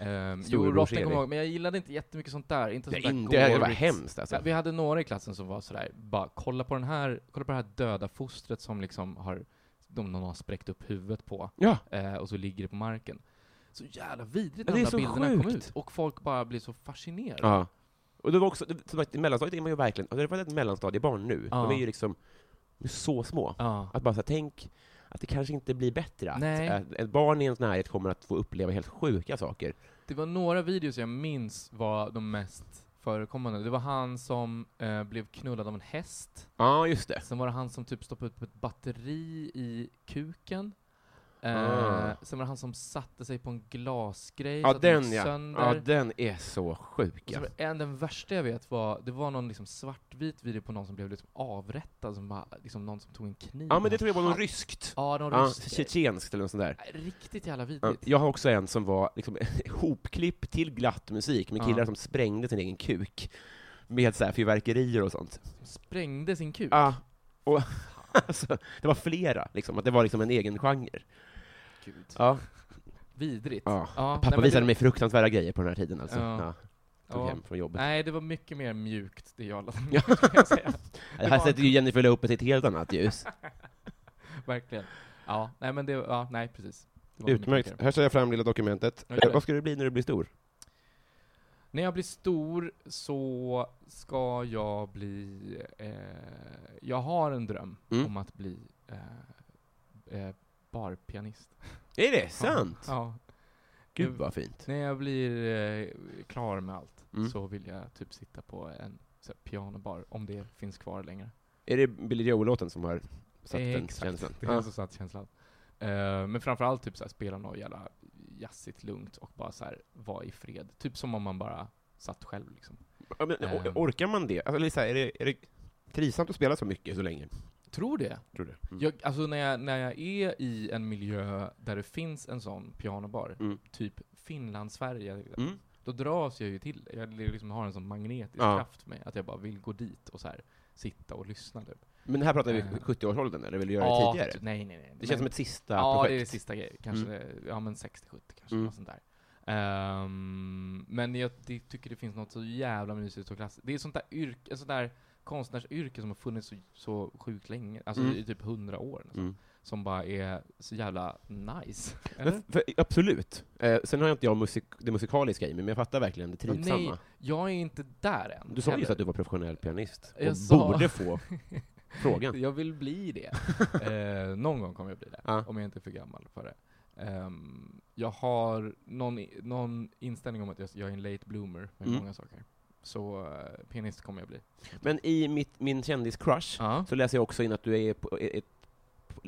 C: Ehm, jo,
A: Storebrors
C: Rotten kommer
A: Erik.
C: jag ihåg, men jag gillade inte jättemycket sånt där. Inte sånt
A: Det, är
C: där
A: inte, det var
C: gorigt.
A: hemskt alltså.
C: Ja, vi hade några i klassen som var sådär, bara kolla på den här, kolla på det här döda fostret som liksom har, de någon har spräckt upp huvudet på,
A: Ja,
C: eh, och så ligger det på marken. Så jävla vidrigt
A: Ja,
C: när
A: det
C: de
A: är
C: där
A: så
C: bilderna kom
A: sjukt.
C: ut, och folk bara blev så fascinerade.
A: Ja. Och det var också, det, som sagt, i mellanstadiet är man ju verkligen, hade det varit ett mellanstadiebarn nu,
C: Ja.
A: de är ju liksom de är så små.
C: Ja.
A: Att bara så här, tänk att det kanske inte blir bättre. Att,
C: Nej.
A: att ett barn i ens närhet kommer att få uppleva helt sjuka saker.
C: Det var några videos jag minns var de mest förekommande. Det var han som eh, blev knullad av en häst,
A: Ja, just det.
C: sen var det han som typ stoppade upp ett batteri i kuken, eh,
A: Ah.
C: sen var det han som satte sig på en glasgrej
A: Ja,
C: så att den
A: den
C: gick
A: ja.
C: sönder.
A: Ja, den är så
C: Och
A: sjuk.
C: så
A: Ja.
C: var det en, den värsta jag vet var, det var någon liksom svartvit video på någon som blev liksom avrättad, som bara, liksom någon som tog en kniv.
A: ja, men det tror jag var något ryskt.
C: Ja, någon
A: Ja,
C: rysk grej.
A: Tjetjenskt eller något sånt där.
C: Nej, Riktigt jävla
A: Ja,
C: vidrigt.
A: Jag har också en som var liksom hopklipp till glatt musik med
C: Ja.
A: killar som sprängde sin egen kuk med så här fyrverkerier och sånt.
C: Sprängde sin kuk.
A: Ja. Och, alltså, det var flera, liksom. Att det var liksom en egen genre.
C: Gud.
A: Ja.
C: Vidrigt.
A: Ja.
C: nej,
A: Pappa
C: men
A: visade
C: det,
A: mig fruktansvärda grejer på den här tiden, alltså.
C: Ja.
A: Ja. Tog
C: Ja.
A: hem från jobbet.
C: Nej, det var mycket mer mjukt, det jag laddade
A: Ja.
C: ner, kan jag säga.
A: det
C: var-
A: Äh, här sätter ju Jennifer Lopez i ett helt annat ljus.
C: Verkligen. Ja, nej men det, ja, nej precis. Det var mycket
A: Utmärkt.
C: mycket.
A: Här ser jag fram lilla dokumentet.
C: Ja, gör det.
A: Eh, Vad ska du bli när du blir stor?
C: När jag blir stor så ska jag bli, eh, jag har en dröm
A: Mm.
C: om att bli eh, eh, barpianist.
A: Är det
C: Ja. ja.
A: Gud
C: Jag-
A: vad fint.
C: När jag blir eh, klar med allt
A: Mm.
C: så vill jag typ sitta på en så här, pianobar, om det finns kvar längre.
A: Är det Billy Joel-låten som har satt den
C: Exakt.
A: känslan?
C: Det är
A: Ja.
C: en så satt känslan. Eh, men framförallt typ såhär, spela något jävla jazzigt lugnt och bara såhär, vara i fred. Typ som om man bara satt själv liksom.
A: Ja, men,
C: Ehm.
A: or- orkar man det? Alltså, Lisa, är det, är det trivsamt att spela så mycket så länge?
C: Tror det.
A: Tror du? Mm.
C: Jag, alltså när jag, när jag är i en miljö där det finns en sån pianobar,
A: Mm.
C: typ Finland, Sverige,
A: Mm.
C: då dras jag ju till det. Jag liksom har en sån magnetisk
A: Ja.
C: kraft med att jag bara vill gå dit och så här sitta och lyssna. Typ.
A: Men här pratar vi
C: Ehm.
A: 70-årsåldern, eller vill du göra
C: Ja,
A: det tidigare?
C: typ, nej, nej, nej.
A: Det känns som ett sista
C: ja,
A: projekt.
C: det är det sista grejen. Kanske, ja men 60-70 kanske,
A: Mm.
C: något sånt där. Ehm, men jag det, tycker det finns något så jävla mysigt och klassiskt. Det är sånt där yrke, sånt där konstnärsyrke som har funnits så, så sjukt länge, alltså
A: Mm.
C: i typ hundra år nästan,
A: Mm.
C: som bara är så jävla nice. Eller?
A: Men, för, absolut. Eh, sen har jag inte jag musik, det musikaliska i mig, men jag fattar verkligen det
C: Nej,
A: trivsamma.
C: jag är inte där än.
A: Du sa
C: heller.
A: just att du var professionell pianist, och
C: Jag sa-
A: borde få frågan.
C: Jag vill bli det. eh, någon gång kommer jag bli det,
A: Ja.
C: om jag inte är för gammal för det. Ehm, jag har någon, i- någon inställning om att jag, jag är en late bloomer med
A: Mm.
C: många saker. Så eh, pianist kommer jag bli.
A: Men i mitt, min kändis-crush
C: Ja.
A: så läser jag också in att du är på, ett,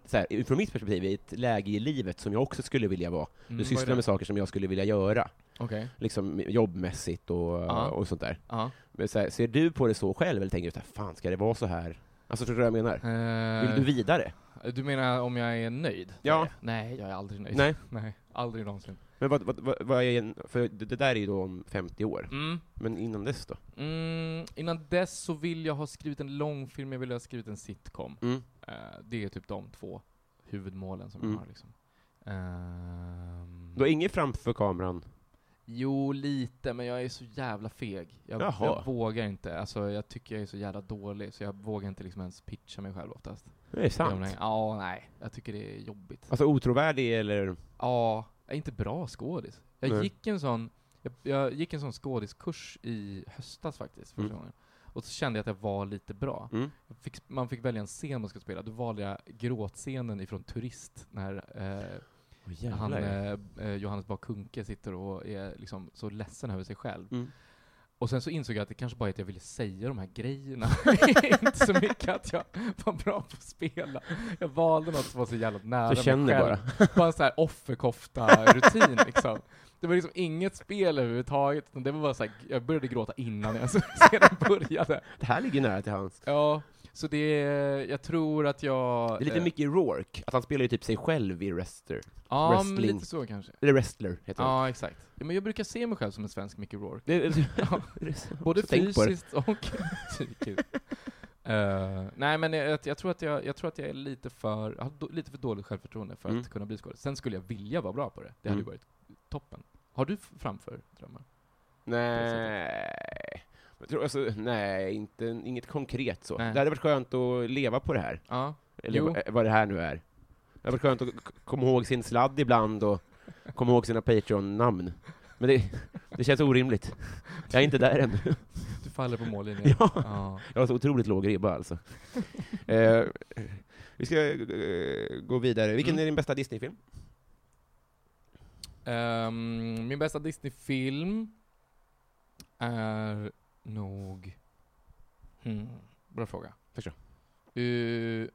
A: så här, från mitt perspektiv, i ett läge i livet som jag också skulle vilja vara. Du
C: Mm, vad är
A: sysslar
C: det?
A: med saker som jag skulle vilja göra.
C: Okej.
A: liksom jobbmässigt och,
C: Ja.
A: och sånt där.
C: Ja.
A: Men så här, ser du på det så själv, eller tänker du så här, fan ska det vara så här? Alltså förstår du vad jag menar? Vill du
C: Eh,
A: vidare?
C: du menar om jag är nöjd? med
A: Ja.
C: det? Nej, jag är aldrig nöjd.
A: Nej.
C: Nej, aldrig någonsin.
A: Men vad, vad, vad, vad är, en- för det det där är ju då om 50 år,
C: Mm.
A: men innan dess då?
C: Mm, innan dess så vill jag ha skrivit en långfilm, jag vill ha skrivit en sitcom.
A: Mm.
C: Eh, det är typ de två huvudmålen som
A: Mm.
C: jag har liksom. Ehm,
A: Du har inget framför kameran?
C: Jo, lite, men jag är så jävla feg. Jag,
A: Jaha.
C: jag vågar inte. Alltså, jag tycker jag är så jävla dålig, så jag vågar inte liksom ens pitcha mig själv oftast.
A: Det är
C: Jag-
A: sant.
C: Ja, nej. Jag tycker det är jobbigt.
A: Alltså otrovärdig eller?
C: Ja, jag är inte bra skådis. Jag
A: Nej.
C: gick en sån, jag, jag gick en sån skådiskurs i höstas faktiskt, första
A: Mm.
C: gången. Och så kände jag att jag var lite bra.
A: Mm.
C: Jag Fick, man fick välja en scen man skulle spela, då valde jag gråtscenen ifrån Turist, när eh, han, eh, eh, Johannes Bah Kuhnke sitter och är liksom så ledsen över sig själv.
A: Mm.
C: Och sen så insåg jag att det kanske bara är att jag ville säga de här grejerna. inte så mycket att jag var bra på att spela. Jag valde något som var så jävla nära
A: Så känner
C: mig
A: bara.
C: själv. Bara en sån här offerkofta-rutin liksom. Det var liksom inget spel överhuvudtaget, utan det var bara så här, jag började gråta innan jag ens sedan började.
A: Det här ligger nära till hans.
C: Ja, så det, jag tror att jag...
A: Det är lite
C: eh,
A: mycket Rourke, att han spelar ju typ sig själv i Wrestler.
C: Ja, men
A: wrestling.
C: lite så kanske.
A: Eller Wrestler heter han.
C: Ja, exakt. Ja, men jag brukar se mig själv som en svensk Mickey Rourke.
A: Det,
C: Ja. Både
A: Så tänk på det.
C: fysiskt och psykiskt. Eh, nej men jag, jag, tror att jag, jag tror att jag är lite för, jag har då, lite för dåligt självförtroende för
A: Mm.
C: att kunna bli skådis. Sen skulle jag vilja vara bra på det, det hade ju
A: Mm.
C: varit toppen. Har du f- framför drömmar?
A: Nej. Jag tror, alltså, nej, inte, inget konkret så.
C: Nej.
A: Det hade varit skönt att leva på det här.
C: Ja.
A: Eller
C: Jo.
A: eh, vad det här nu är. Det hade varit skönt att k- komma ihåg sin sladd ibland och komma ihåg sina Patreon-namn. Men det, det känns orimligt. Jag är inte där än.
C: Du faller på mållinjen.
A: Ja.
C: ja.
A: Jag har så otroligt låg ribba alltså. eh, vi ska eh, gå vidare. Vilken
C: Mm.
A: är din bästa Disney-film?
C: Ehm, min bästa Disney-film är nog... Hmm, bra fråga.
A: Förstå.
C: Eh,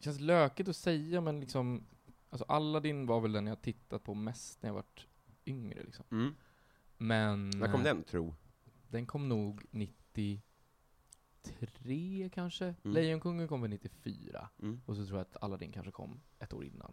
C: känns lökigt att säga, men liksom... Alltså Aladdin var väl den jag tittat på mest när jag varit yngre. Liksom. Men...
A: Mm. När kom
C: eh,
A: den, tro?
C: Den kom nog 93 kanske? Lejonkungen kom väl 94?
A: Mm.
C: Och så tror jag att Aladdin kanske kom ett år innan.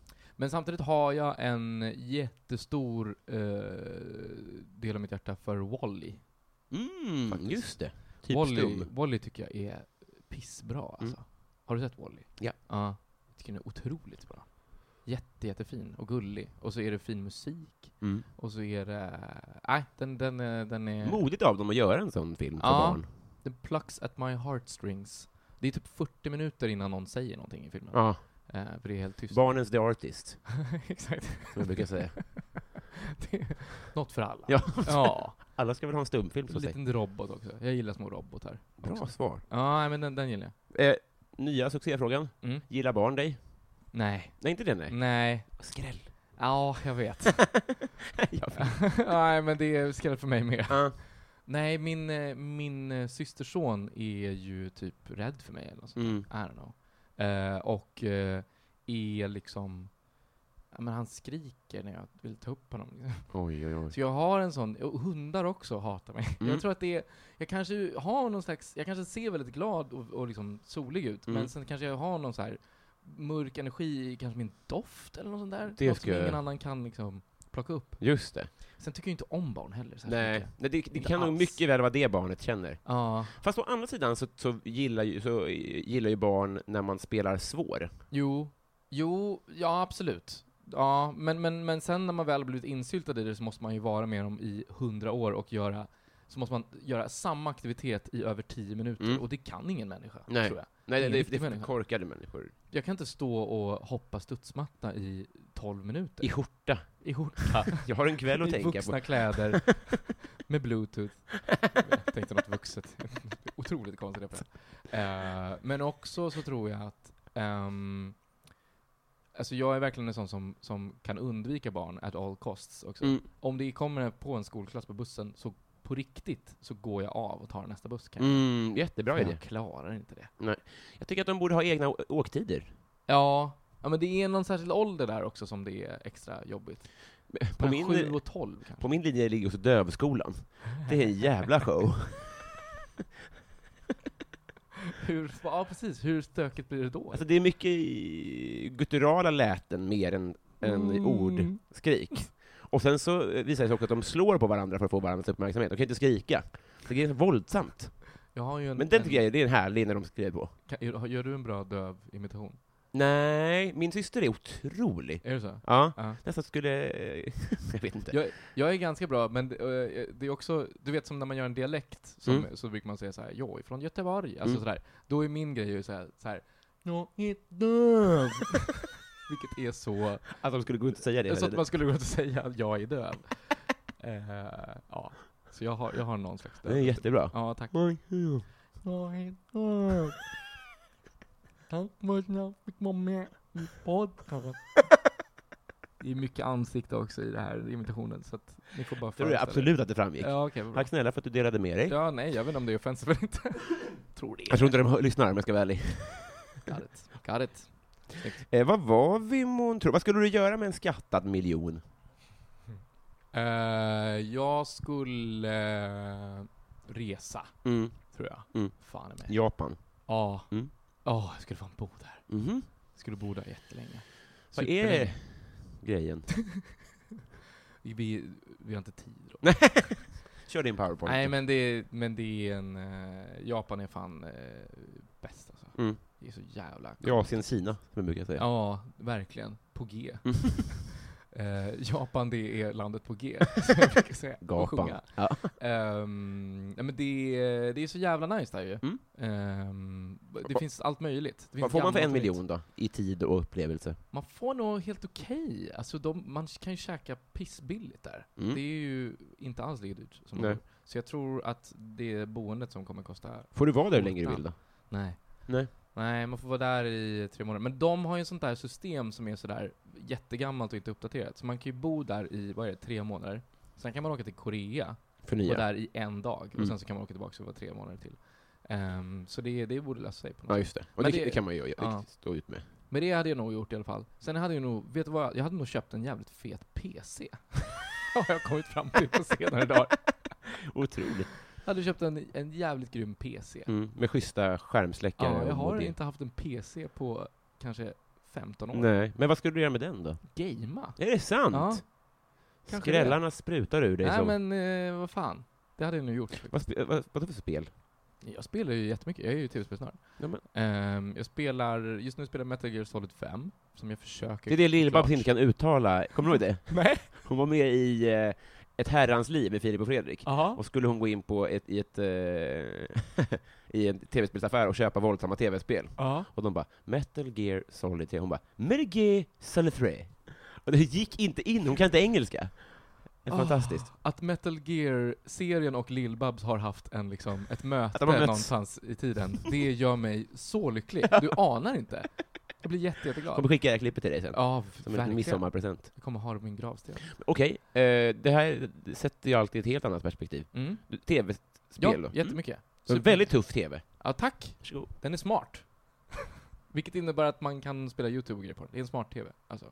C: men samtidigt har jag en jättestor eh, del av mitt hjärta för Wally.
A: Mm, just det. Typ
C: Wally,
A: stum. Mm.
C: Wally tycker jag är pissbra alltså. Har du sett Wally?
A: Ja.
C: Ja. Jag tycker den är otroligt bra. Jätte, jättefin och gullig. Och så är det fin musik.
A: Mm.
C: Och så är det... Nej, den, den, är- den är...
A: Modigt av dem att göra en sån film för
C: Eh. Ja.
A: barn.
C: Den plucks at my heartstrings. Det är typ 40 minuter innan någon säger någonting i filmen.
A: Ja.
C: Eh, för det är helt tyst.
A: Barnens The Artist,
C: Exakt.
A: som jag brukar säga.
C: Det är något för alla.
A: Ja.
C: ja.
A: Alla ska väl ha en stumfilm, så
C: En
A: att säga.
C: liten robot också. Jag gillar små robotar.
A: Bra svar.
C: Ja, nej, men den, den gillar jag.
A: Eh, nya succéfrågan.
C: Mm.
A: Gillar barn dig?
C: Nej.
A: Nej, inte det, nej.
C: Nej.
A: Skräll.
C: Ja, jag vet. nej, men det är skräll för mig mer.
A: Ja.
C: Nej, min, eh, min eh, systerson är ju typ rädd för mig eller något sånt.
A: Mm.
C: I don't know. Eh, och eh, är liksom... Ja, men han skriker när jag vill ta upp honom.
A: Oj, oj, oj.
C: Så jag har en sån, och hundar också hatar mig.
A: Mm.
C: Jag tror att det är, jag kanske har någon slags, jag kanske ser väldigt glad och, och liksom solig ut,
A: Mm.
C: men sen kanske jag har någon så här mörk energi i kanske min doft eller något sånt där.
A: Det
C: något
A: ska
C: som ingen
A: jag-
C: annan kan liksom plocka upp.
A: Just det.
C: Sen tycker jag inte om barn heller särskilt
A: Nej,
C: mycket.
A: Nej det, det
C: Inte
A: kan nog
C: alls.
A: mycket väl vara det barnet känner.
C: Ja,
A: Fast å andra sidan så, så, gillar, ju, så eh, gillar ju barn när man spelar svår.
C: jo, jo, ja absolut. Ja, men, men, men sen när man väl har blivit insyltad i det så måste man ju vara med dem i hundra år och göra, så måste man göra samma aktivitet i över tio minuter,
A: Mm.
C: och det kan ingen människa,
A: Nej.
C: tror jag.
A: Nej, det,
C: Ingen
A: det,
C: riktig
A: det är
C: människa.
A: korkade människor.
C: Jag kan inte stå och hoppa studsmatta i 12 minuter.
A: I skjorta.
C: I skjorta.
A: Jag har en kväll att
C: I
A: tänka
C: vuxna
A: på.
C: kläder. Med bluetooth. Jag tänkte något vuxet. Otroligt konstigt referens. Eh, men också så tror jag att... ehm, alltså jag är verkligen en sån som, som kan undvika barn at all costs också.
A: Mm.
C: Om det kommer på en skolklass på bussen, så på riktigt så går jag av och tar nästa buss kanske.
A: Mm, jättebra
C: För
A: idé.
C: jag klarar inte det.
A: Jag tycker att de borde ha egna å- åktider.
C: Ja, ja, men det är någon särskild ålder där också som det är extra jobbigt.
A: På
C: Mellan sju
A: min,
C: och 12 kanske.
A: på min linje ligger också Dövskolan. Det är en jävla show.
C: Hur, ja, precis. Hur stökigt blir det då?
A: Alltså det är mycket i- gutturala läten mer än, än i ord, skrik. Och sen så eh, visar det sig också att de slår på varandra för att få varandras uppmärksamhet. De kan inte skrika. Så det är våldsamt.
C: jag har ju en,
A: Men den
C: en,
A: tycker jag är- det är en härlig när de skriver på.
C: kan- gör- Gör du en bra döv imitation?
A: Nej, min syster är otrolig.
C: Är det så?
A: Ja,
C: Ja.
A: nästan skulle... eh, jag vet inte.
C: Jag, jag är ganska bra, men det, eh, det är också, du vet som när man gör en dialekt, som,
A: Mm.
C: så brukar man säga så här, jag är från Göteborg, alltså
A: Mm.
C: sådär. Då är min grej ju så här, så här jag är döv. Vilket är så,
A: Att alltså, de skulle gå ut och säga det.
C: så att
A: eller?
C: man skulle gå ut och säga att jag är döv. Eh, ja. Så jag har, jag har någon slags
A: Det är jättebra.
C: Ja, tack.
A: Oj,
C: Jag är döv. Tack för att jag fick vara med i podden. Det är mycket ansikte också i det här imitationen, så att ni får bara
A: Tror du
C: föreställa er.
A: absolut att det framgick?
C: Ja, okej. vad bra.
A: Tack snälla för att du delade med dig.
C: ja, nej, jag vet inte om det är offensivt eller inte. tror det.
A: Jag tror inte de hör- lyssnar, om jag ska vara ärlig.
C: Got it. Got it.
A: Eh, vad var vi månntro? Vad skulle du göra med en skattad miljon?
C: Eh, jag skulle eh, resa, tror jag.
A: Mm.
C: Fan i mig.
A: Japan.
C: Ja.
A: Mm.
C: Ja, jag skulle fan bo där.
A: Mhm.
C: Jag skulle bo där jättelänge.
A: Vad
C: Superlänge.
A: är grejen?
C: Vi, vi har inte tid då.
A: Nej. Kör din powerpoint.
C: Nej, men det, är- men det är en... eh, Japan är fan eh, bäst alltså.
A: Mm.
C: Det är så jävla...
A: Det är Asien, Kina, som jag brukar säga.
C: Ja, verkligen. På G.
A: Mm.
C: Eh, Japan, det är landet på G. som jag brukar säga. och
A: Gapan.
C: sjunga.
A: Ja.
C: Ehm, nej, men det, är- det är så jävla nice där ju.
A: Mm.
C: Ehm, det
A: Va-
C: finns allt möjligt. Det finns
A: Vad får man för
C: gammalt
A: en
C: och nytt.
A: miljon då? I tid och upplevelse?
C: Man får nog helt okej. Alltså de, man kan ju käka pissbilligt där.
A: Mm.
C: Det är ju inte alls lika dyrt som man
A: Nej.
C: tror. Så jag tror att det är boendet som kommer kosta...
A: Får du vara där hur länge du vill då?
C: Nej.
A: Nej.
C: Nej, man får vara där i tre månader. Men de har ju sånt där system som är sådär jättegammalt och inte uppdaterat. Så man kan ju bo där i, vad är det, tre månader. Sen kan man åka till Korea och
A: Förnya?
C: där i en dag. Och
A: Mm.
C: sen så kan man åka tillbaka och vara tre månader till. Ehm, så det, det borde lösa sig på något
A: Ja,
C: sätt.
A: just det. Och det,
C: Men
A: det
C: det-
A: kan man ju
C: ja.
A: stå ut med.
C: Men det hade jag nog gjort i alla fall. Sen hade jag nog, vet du vad? Jag hade nog köpt en jävligt fet PC. har jag kommit fram till på senare dagar.
A: Otroligt.
C: Jag hade köpt en, en jävligt grym PC.
A: Mm. Med schyssta skärmsläckare
C: Ja, jag
A: och
C: har
A: modem.
C: inte haft en PC på kanske 15 år.
A: Nej, men vad skulle du göra med den då?
C: Gamea.
A: Är det sant?
C: kanske
A: Skrällarna sprutar ur dig
C: Nej
A: som...
C: men eh, vad fan. Det hade jag nog gjort.
A: Vad, spe- vad, vad för spel?
C: Jag spelar ju jättemycket, jag är ju tv-spelsnörd.
A: Ja, men-
C: Ehm, jag spelar, just nu spelar jag Metal Gear Solid 5, som jag försöker...
A: Det är det
C: klart.
A: Lill-Babs inte kan uttala. Kommer du ihåg det?
C: Nej.
A: Hon var med i eh, Ett herrans liv med Filip och Fredrik.
C: Jaha.
A: Och skulle hon gå in på ett, i, ett, eh, i en tv-spelsaffär och köpa våldsamma tv-spel.
C: Ja.
A: Och de bara ”Metal Gear Solid 3”. Hon bara ”Metal Gear Solid 3”. Och det gick inte in, hon kan inte engelska. Det är
C: Ah,
A: fantastiskt.
C: Att Metal Gear-serien och Lill-Babs har haft en, liksom, ett möte
A: de har mötts.
C: någonstans i tiden, det gör mig så lycklig. Du anar inte. Jag blir jätte,
A: Jag
C: jätteglad.
A: kommer skicka det här klippet till dig sen.
C: Ja,
A: Som en
C: verkligen.
A: midsommarpresent.
C: Jag kommer ha det på min gravsten.
A: Okej, eh, det här sätter ju alltid ett helt annat perspektiv.
C: Mm.
A: Du, Tv-spel
C: Ja,
A: då? Mm.
C: jättemycket.
A: Så väldigt tuff tv.
C: Ja, tack.
A: Varsågod.
C: Den är smart. Vilket innebär att man kan spela YouTube och grejer på den. Det är en smart-TV. Alltså,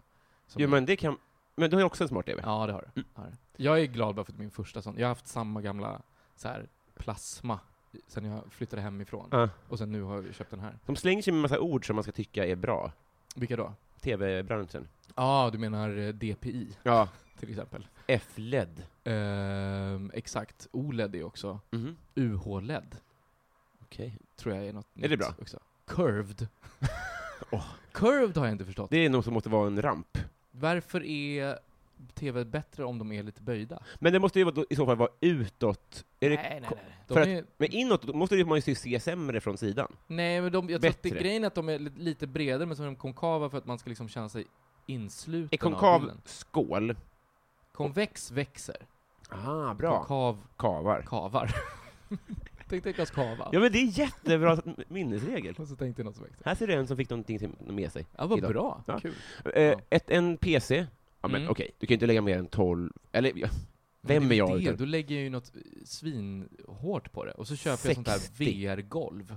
C: Som-
A: Jo, men Mm. det kan... Men du har ju också en smart tv.
C: Ja, det har du. Har du. Jag är glad bara för att min första sån. Jag har haft samma gamla så här, plasma i- sen jag flyttade hemifrån.
A: Ja.
C: Och sen nu har jag köpt den här.
A: De slänger sig med massa ord som man ska tycka är bra.
C: Vilka då?
A: Tv-branschen.
C: Ja, du menar eh, DPI
A: Ja.
C: till exempel.
A: F-led.
C: Ehm, exakt. OLED är också. UH-LED
A: Okej.
C: E tror jag är något
A: Är det
C: nytt
A: bra?
C: Också. Curved. Curved har jag inte förstått.
A: Det är något som måste vara en ramp.
C: Varför är TV bättre om de är lite böjda?
A: Men det måste ju vara då- i så fall vara utåt. Är det...
C: nej, nej, nej. De
A: för att-
C: är,
A: Men inåt, då måste det ju- man ju se sämre från sidan.
C: nej, men de, jag tror att det är
A: Bättre.
C: grejen är att de är li- lite bredare, men så är de konkava för att man ska liksom känna sig insluten
A: Är
C: av
A: konkav
C: bilden.
A: skål?
C: Konvex växer.
A: Ah, bra.
C: Konkav
A: Kavar.
C: kavar. tänkte ett glas kava.
A: Ja men det är jättebra minnesregel.
C: Och så tänkte jag något som växer.
A: Här ser du en som fick någonting till- med sig.
C: Ja, vad
A: idag.
C: bra.
A: Ja.
C: Kul.
A: Eh, ett, en PC. Ja men
C: Mm.
A: okej, du kan ju inte lägga mer än 12, eller ja, Vem
C: Men det
A: är jag
C: väl Det,
A: utan-
C: då lägger jag ju något eh, svinhårt på det. Och så köper jag sånt här
A: 60.
C: VR-golv.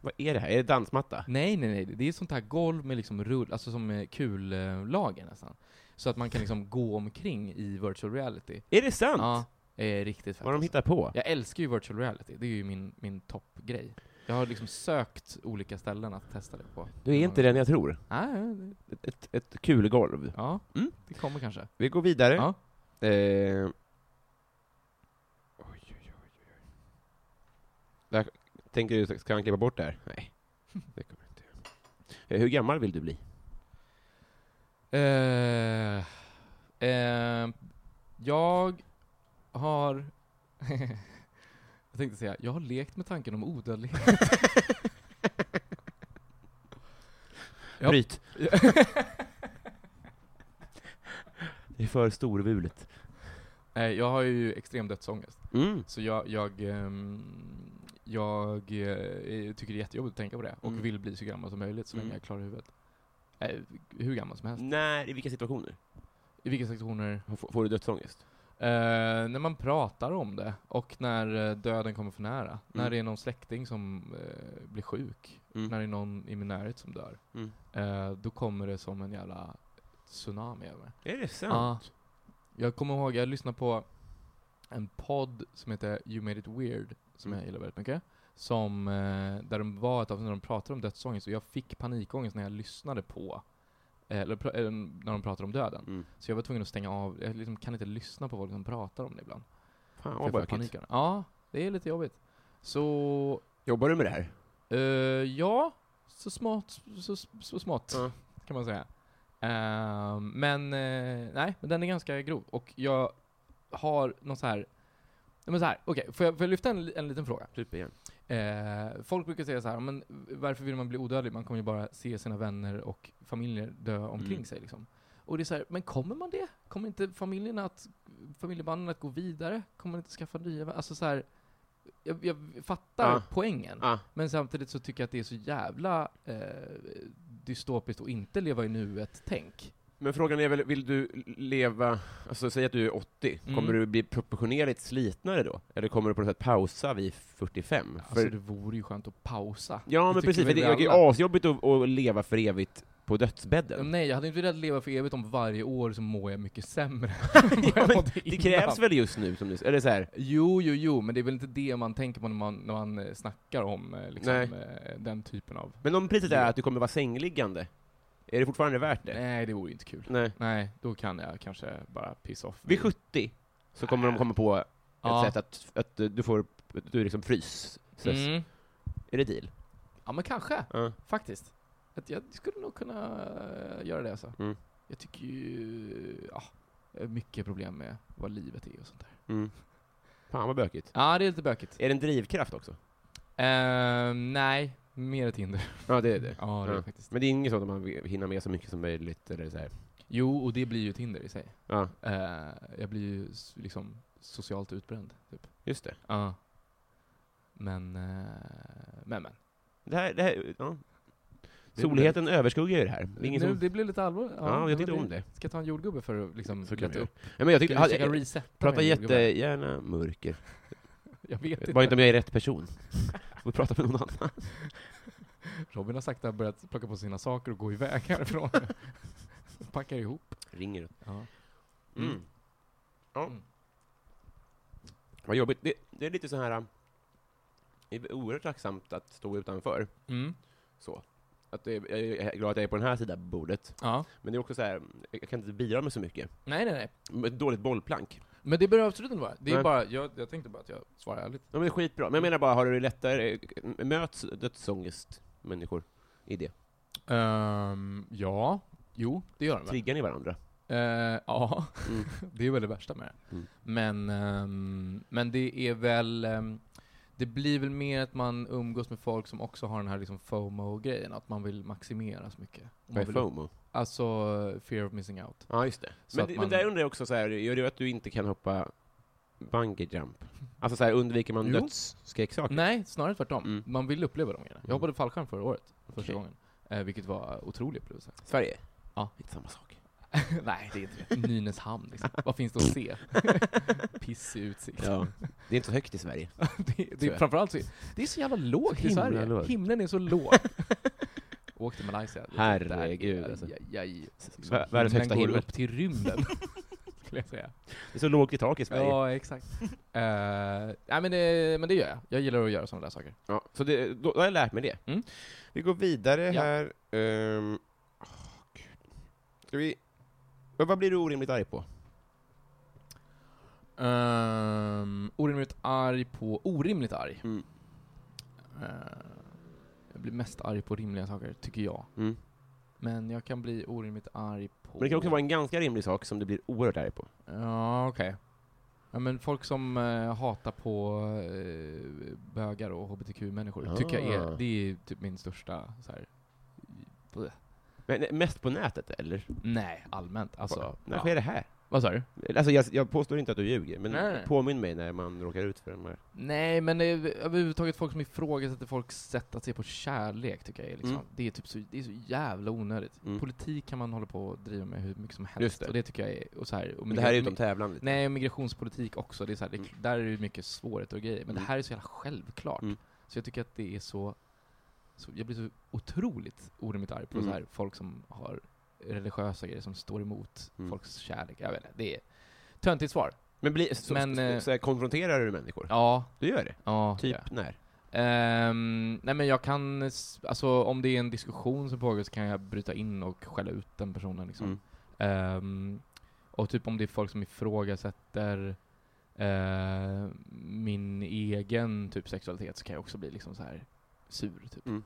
A: vad är det här? Är det dansmatta?
C: Nej, nej, nej. Det är sånt här golv med liksom rull, alltså som är kullager nästan. Så att man kan liksom gå omkring i virtual reality.
A: Är det sant?
C: Ja, är riktigt fett.
A: Vad de
C: alltså.
A: hittar på?
C: Jag älskar ju virtual reality. Det är ju min, min toppgrej. Jag har liksom sökt olika ställen att testa det på.
A: Du är inte den jag tror.
C: Nej, det-
A: Ett, ett, ett kulgolv.
C: ja.
A: Mm.
C: Det kommer kanske.
A: Vi går vidare.
C: Ja.
A: Eh. Oj, oj, oj, oj, oj. Där, tänker du, ska han klippa bort det här? Nej, det kommer jag inte göra. Eh, Hur gammal vill du bli?
C: Eh, eh, jag har... jag tänkte säga, jag har lekt med tanken om odödlighet. Ja.
A: Bryt! det är för storvulet.
C: Nej, jag har ju extrem dödsångest.
A: Mm.
C: Så jag, jag, ehm, jag eh, tycker det är jättejobbigt att tänka på det. Och
A: Mm.
C: vill bli så gammal som möjligt så länge
A: Mm.
C: jag klarar huvudet. Eh, hur gammal som helst.
A: När, i vilka situationer?
C: I vilka situationer?
A: F- Får du dödsångest?
C: Eh, när man pratar om det och när eh, döden kommer för nära. När det är någon släkting som eh, blir sjuk.
A: Mm.
C: När det är någon i min närhet som dör.
A: Mm.
C: Eh, då kommer det som en jävla tsunami över mig.
A: Är det sant?
C: Ja. Jag kommer ihåg, jag lyssnade på en podd som heter You Made It Weird, som
A: Mm.
C: jag gillar väldigt mycket. Som, eh, där de var ett avsnitt när de pratade om dödsångest, och jag fick panikångest när jag lyssnade på, eh, eller pra- eh, när de pratade om döden.
A: Mm.
C: Så jag var tvungen att stänga av, jag liksom kan inte lyssna på folk som pratar om det ibland.
A: Fan
C: För jag
A: vad
C: får
A: bökigt.
C: panik av det. Ja, det är lite jobbigt. Så,
A: Jobbar du med det här?
C: eh, ja, så smått, så, så smått
A: Ja.
C: kan man säga. Ehm, men eh, nej, men den är ganska grov. Och jag har någon så här... Ja, Men så här, okej, får, jag, får jag lyfta en, li- en liten fråga?
A: Typ igen.
C: Eh, folk brukar säga så här, men varför vill man bli odödlig? Man kommer ju bara se sina vänner och familjer dö omkring
A: Mm.
C: sig liksom. Och det är så här, men kommer man det? Kommer inte familjen att, familjebanden att gå vidare? Kommer man inte skaffa nya vänner? Alltså så här, jag, jag fattar
A: Ah.
C: poängen.
A: Ah.
C: Men samtidigt så tycker jag att det är så jävla eh, dystopiskt att inte leva i nuet-tänk.
A: Men frågan är väl, vill du leva, alltså säg att du är 80,
C: Mm.
A: kommer du bli proportionerligt slitnare då? Eller kommer du på något sätt pausa vid 45? För,
C: Alltså det vore ju skönt att pausa.
A: ja men
C: tycker
A: precis, för
C: väl
A: det
C: vi
A: det
C: alla.
A: är asjobbigt att, att leva för evigt på dödsbädden.
C: Nej, jag hade inte velat leva för evigt om varje år så mår jag mycket sämre.
A: Ja, men det krävs väl just nu, som du eller så här.
C: Jo, jo, jo, men det är väl inte det man tänker på när man, när man eh, snackar om eh, liksom,
A: Nej.
C: eh, den typen av...
A: Men om priset är att du kommer vara sängliggande, är det fortfarande värt det?
C: Nej, det vore ju inte kul.
A: Nej.
C: Nej, då kan jag kanske bara piss off.
A: Vid 70 så kommer de komma på ett
C: Ja.
A: sätt att, att du får, att du liksom frys. Så
C: mm.
A: Är det deal?
C: Ja, men kanske.
A: Ja.
C: Faktiskt. Att jag skulle nog kunna eh, göra det alltså.
A: Mm.
C: Jag tycker ju... Ja, jag har mycket problem med vad livet är och sånt där.
A: Mm. Fan vad bökigt.
C: Ja, det är lite bökigt.
A: Är det en drivkraft också?
C: Eh, nej, mer ett hinder.
A: Ja, det är det.
C: Ja, det är
A: Ja.
C: det faktiskt.
A: Men det är inget sånt att man vill hinna med så mycket som möjligt eller så här.
C: Jo, och det blir ju ett hinder i sig.
A: Ja,
C: Eh, jag blir ju s- liksom socialt utbränd, typ.
A: just det.
C: Ja. Men, eh, men, men.
A: Det här, det här ja.
C: Det
A: Soligheten överskuggar ju det här. Det är
C: Nu,
A: ingen som...
C: det blir lite allvarligt.
A: Ja, jag
C: men
A: tyckte om det.
C: Ska jag ta en jordgubbe för att liksom
A: Så kan vi
C: lätta
A: göra.
C: upp?
A: Nej, men jag tyckte...
C: Ska vi försöka
A: Hade,
C: resetta med
A: prata
C: en jordgubbe?
A: jättegärna mörker.
C: Jag vet inte.
A: Bara inte om jag är rätt person. Får prata med någon annan.
C: Robin har sakta börjat plocka på sina saker och gå iväg härifrån. Packar ihop.
A: Ringer åt-
C: Ja.
A: mm.
C: Mm.
A: Ja.
C: Mm.
A: Vad jobbigt. Det, det är lite så här... äh, Det är oerhört tacksamt att stå utanför.
C: Mm.
A: Så. Att det, jag är glad att jag är på den här sidan bordet.
C: ja.
A: Men det är också så här, jag kan inte bidra med så mycket.
C: Nej, nej, nej.
A: Ett dåligt bollplank.
C: Men det behöver absolut inte vara. Det är
A: Nej.
C: bara, jag, jag tänkte bara att jag svarar ärligt.
A: Ja, men det är skitbra. Men jag menar bara, har du det lättare? Möts dödsångest-människor i det?
C: Ehm, ja. Jo, det gör den väl.
A: Triggar ni varandra?
C: Eh, ja,
A: Mm.
C: det är väl det värsta med det.
A: Mm.
C: Men, ehm, men det är väl, ehm, det blir väl mer att man umgås med folk som också har den här liksom FOMO-grejen, att man vill maximera så mycket. Och
A: Vad
C: Man
A: är
C: vill,
A: FOMO?
C: alltså, fear of missing out.
A: Ja, just det.
C: Så
A: men,
C: att
A: det-
C: man-
A: men där undrar jag också så här, gör det att du inte kan hoppa bungee jump? Alltså så här, undviker man
C: Jo.
A: dödsskräcksaker?
C: Nej, snarare tvärtom.
A: Mm.
C: Man vill uppleva de grejerna. Jag
A: Mm.
C: hoppade fallskärm förra året, första
A: Okej.
C: gången. Eh, vilket var otrolig upplevelse.
A: Sverige?
C: Ja.
A: Inte samma sak.
C: Nej, det är inte det. Nynäshamn liksom. Vad finns det att se? Pissig utsikt.
A: Ja. Det är inte så högt i Sverige.
C: Det, det,
A: Tror jag.
C: är framförallt så, det är så jävla lågt i
A: himla
C: Sverige.
A: lågt.
C: Himlen är så låg. Åk till Malaysia.
A: Herregud,
C: Där-
A: alltså.
C: aj, aj, aj.
A: Vär- världens
C: Den
A: högsta
C: går
A: himmel.
C: upp till rymden. skulle jag säga.
A: Det är så lågt i tak i Sverige. Ja.
C: Ja, exakt. Eh, nej, men det, men det gör jag. Jag gillar att göra sådana där saker.
A: så det, då, då har jag lärt mig det.
C: Mm.
A: Vi går vidare
C: Ja.
A: här. Um, Ska vi... Vad vad blir du orimligt arg på?
C: Ehm, Um, orimligt arg på... Orimligt arg.
A: Mm.
C: Eh, blir mest arg på rimliga saker, tycker jag.
A: Mm.
C: Men jag kan bli orimligt arg på...
A: Men det kan också vara en ganska rimlig sak som du blir oerhört arg på.
C: Ja, okej. Ja, men folk som eh, hatar på eh, bögar och hbtq-människor, tycker jag
A: Ah.
C: är, det är typ min största så här, bleh.
A: Men eh, mest på nätet, eller?
C: Nej, allmänt. Alltså,
A: när
C: ja.
A: sker det här?
C: Vad sa du?
A: Alltså, jag, jag påstår inte att du ljuger, men
C: Nej.
A: påminn mig när man råkar ut för de här.
C: Nej, men det är överhuvudtaget folk som ifrågasätter folks sätt att se på kärlek, tycker jag är liksom.
A: Mm.
C: Det är typ så, det är så jävla onödigt.
A: Mm.
C: Politik kan man hålla på och driva med hur mycket som helst.
A: Just det.
C: Och det tycker jag är, och så här, och
A: Men det här är
C: migra-
A: ju utom tävlan lite.
C: Nej, och migrationspolitik också. Det är så här, det,
A: Mm.
C: Där är det ju mycket svårigheter och grejer. Men
A: Mm.
C: det här är så jävla självklart.
A: Mm.
C: Så jag tycker att det är så, så jag blir så otroligt orimligt arg på
A: Mm.
C: så här, folk som har religiösa grejer som står emot
A: Mm.
C: folks kärlek. Jag vet inte, det är töntigt svar.
A: Men, bli, så,
C: Men,
A: så,
C: eh,
A: så, här, konfronterar du människor?
C: Ja,
A: Du gör det?
C: ja.
A: Typ
C: ja.
A: när?
C: Ehm, nej men jag kan, s- alltså om det är en diskussion som pågår så kan jag bryta in och skälla ut den personen liksom.
A: Mm.
C: Ehm, och typ om det är folk som ifrågasätter eh, min egen typ sexualitet så kan jag också bli liksom så här sur typ.
A: Mm.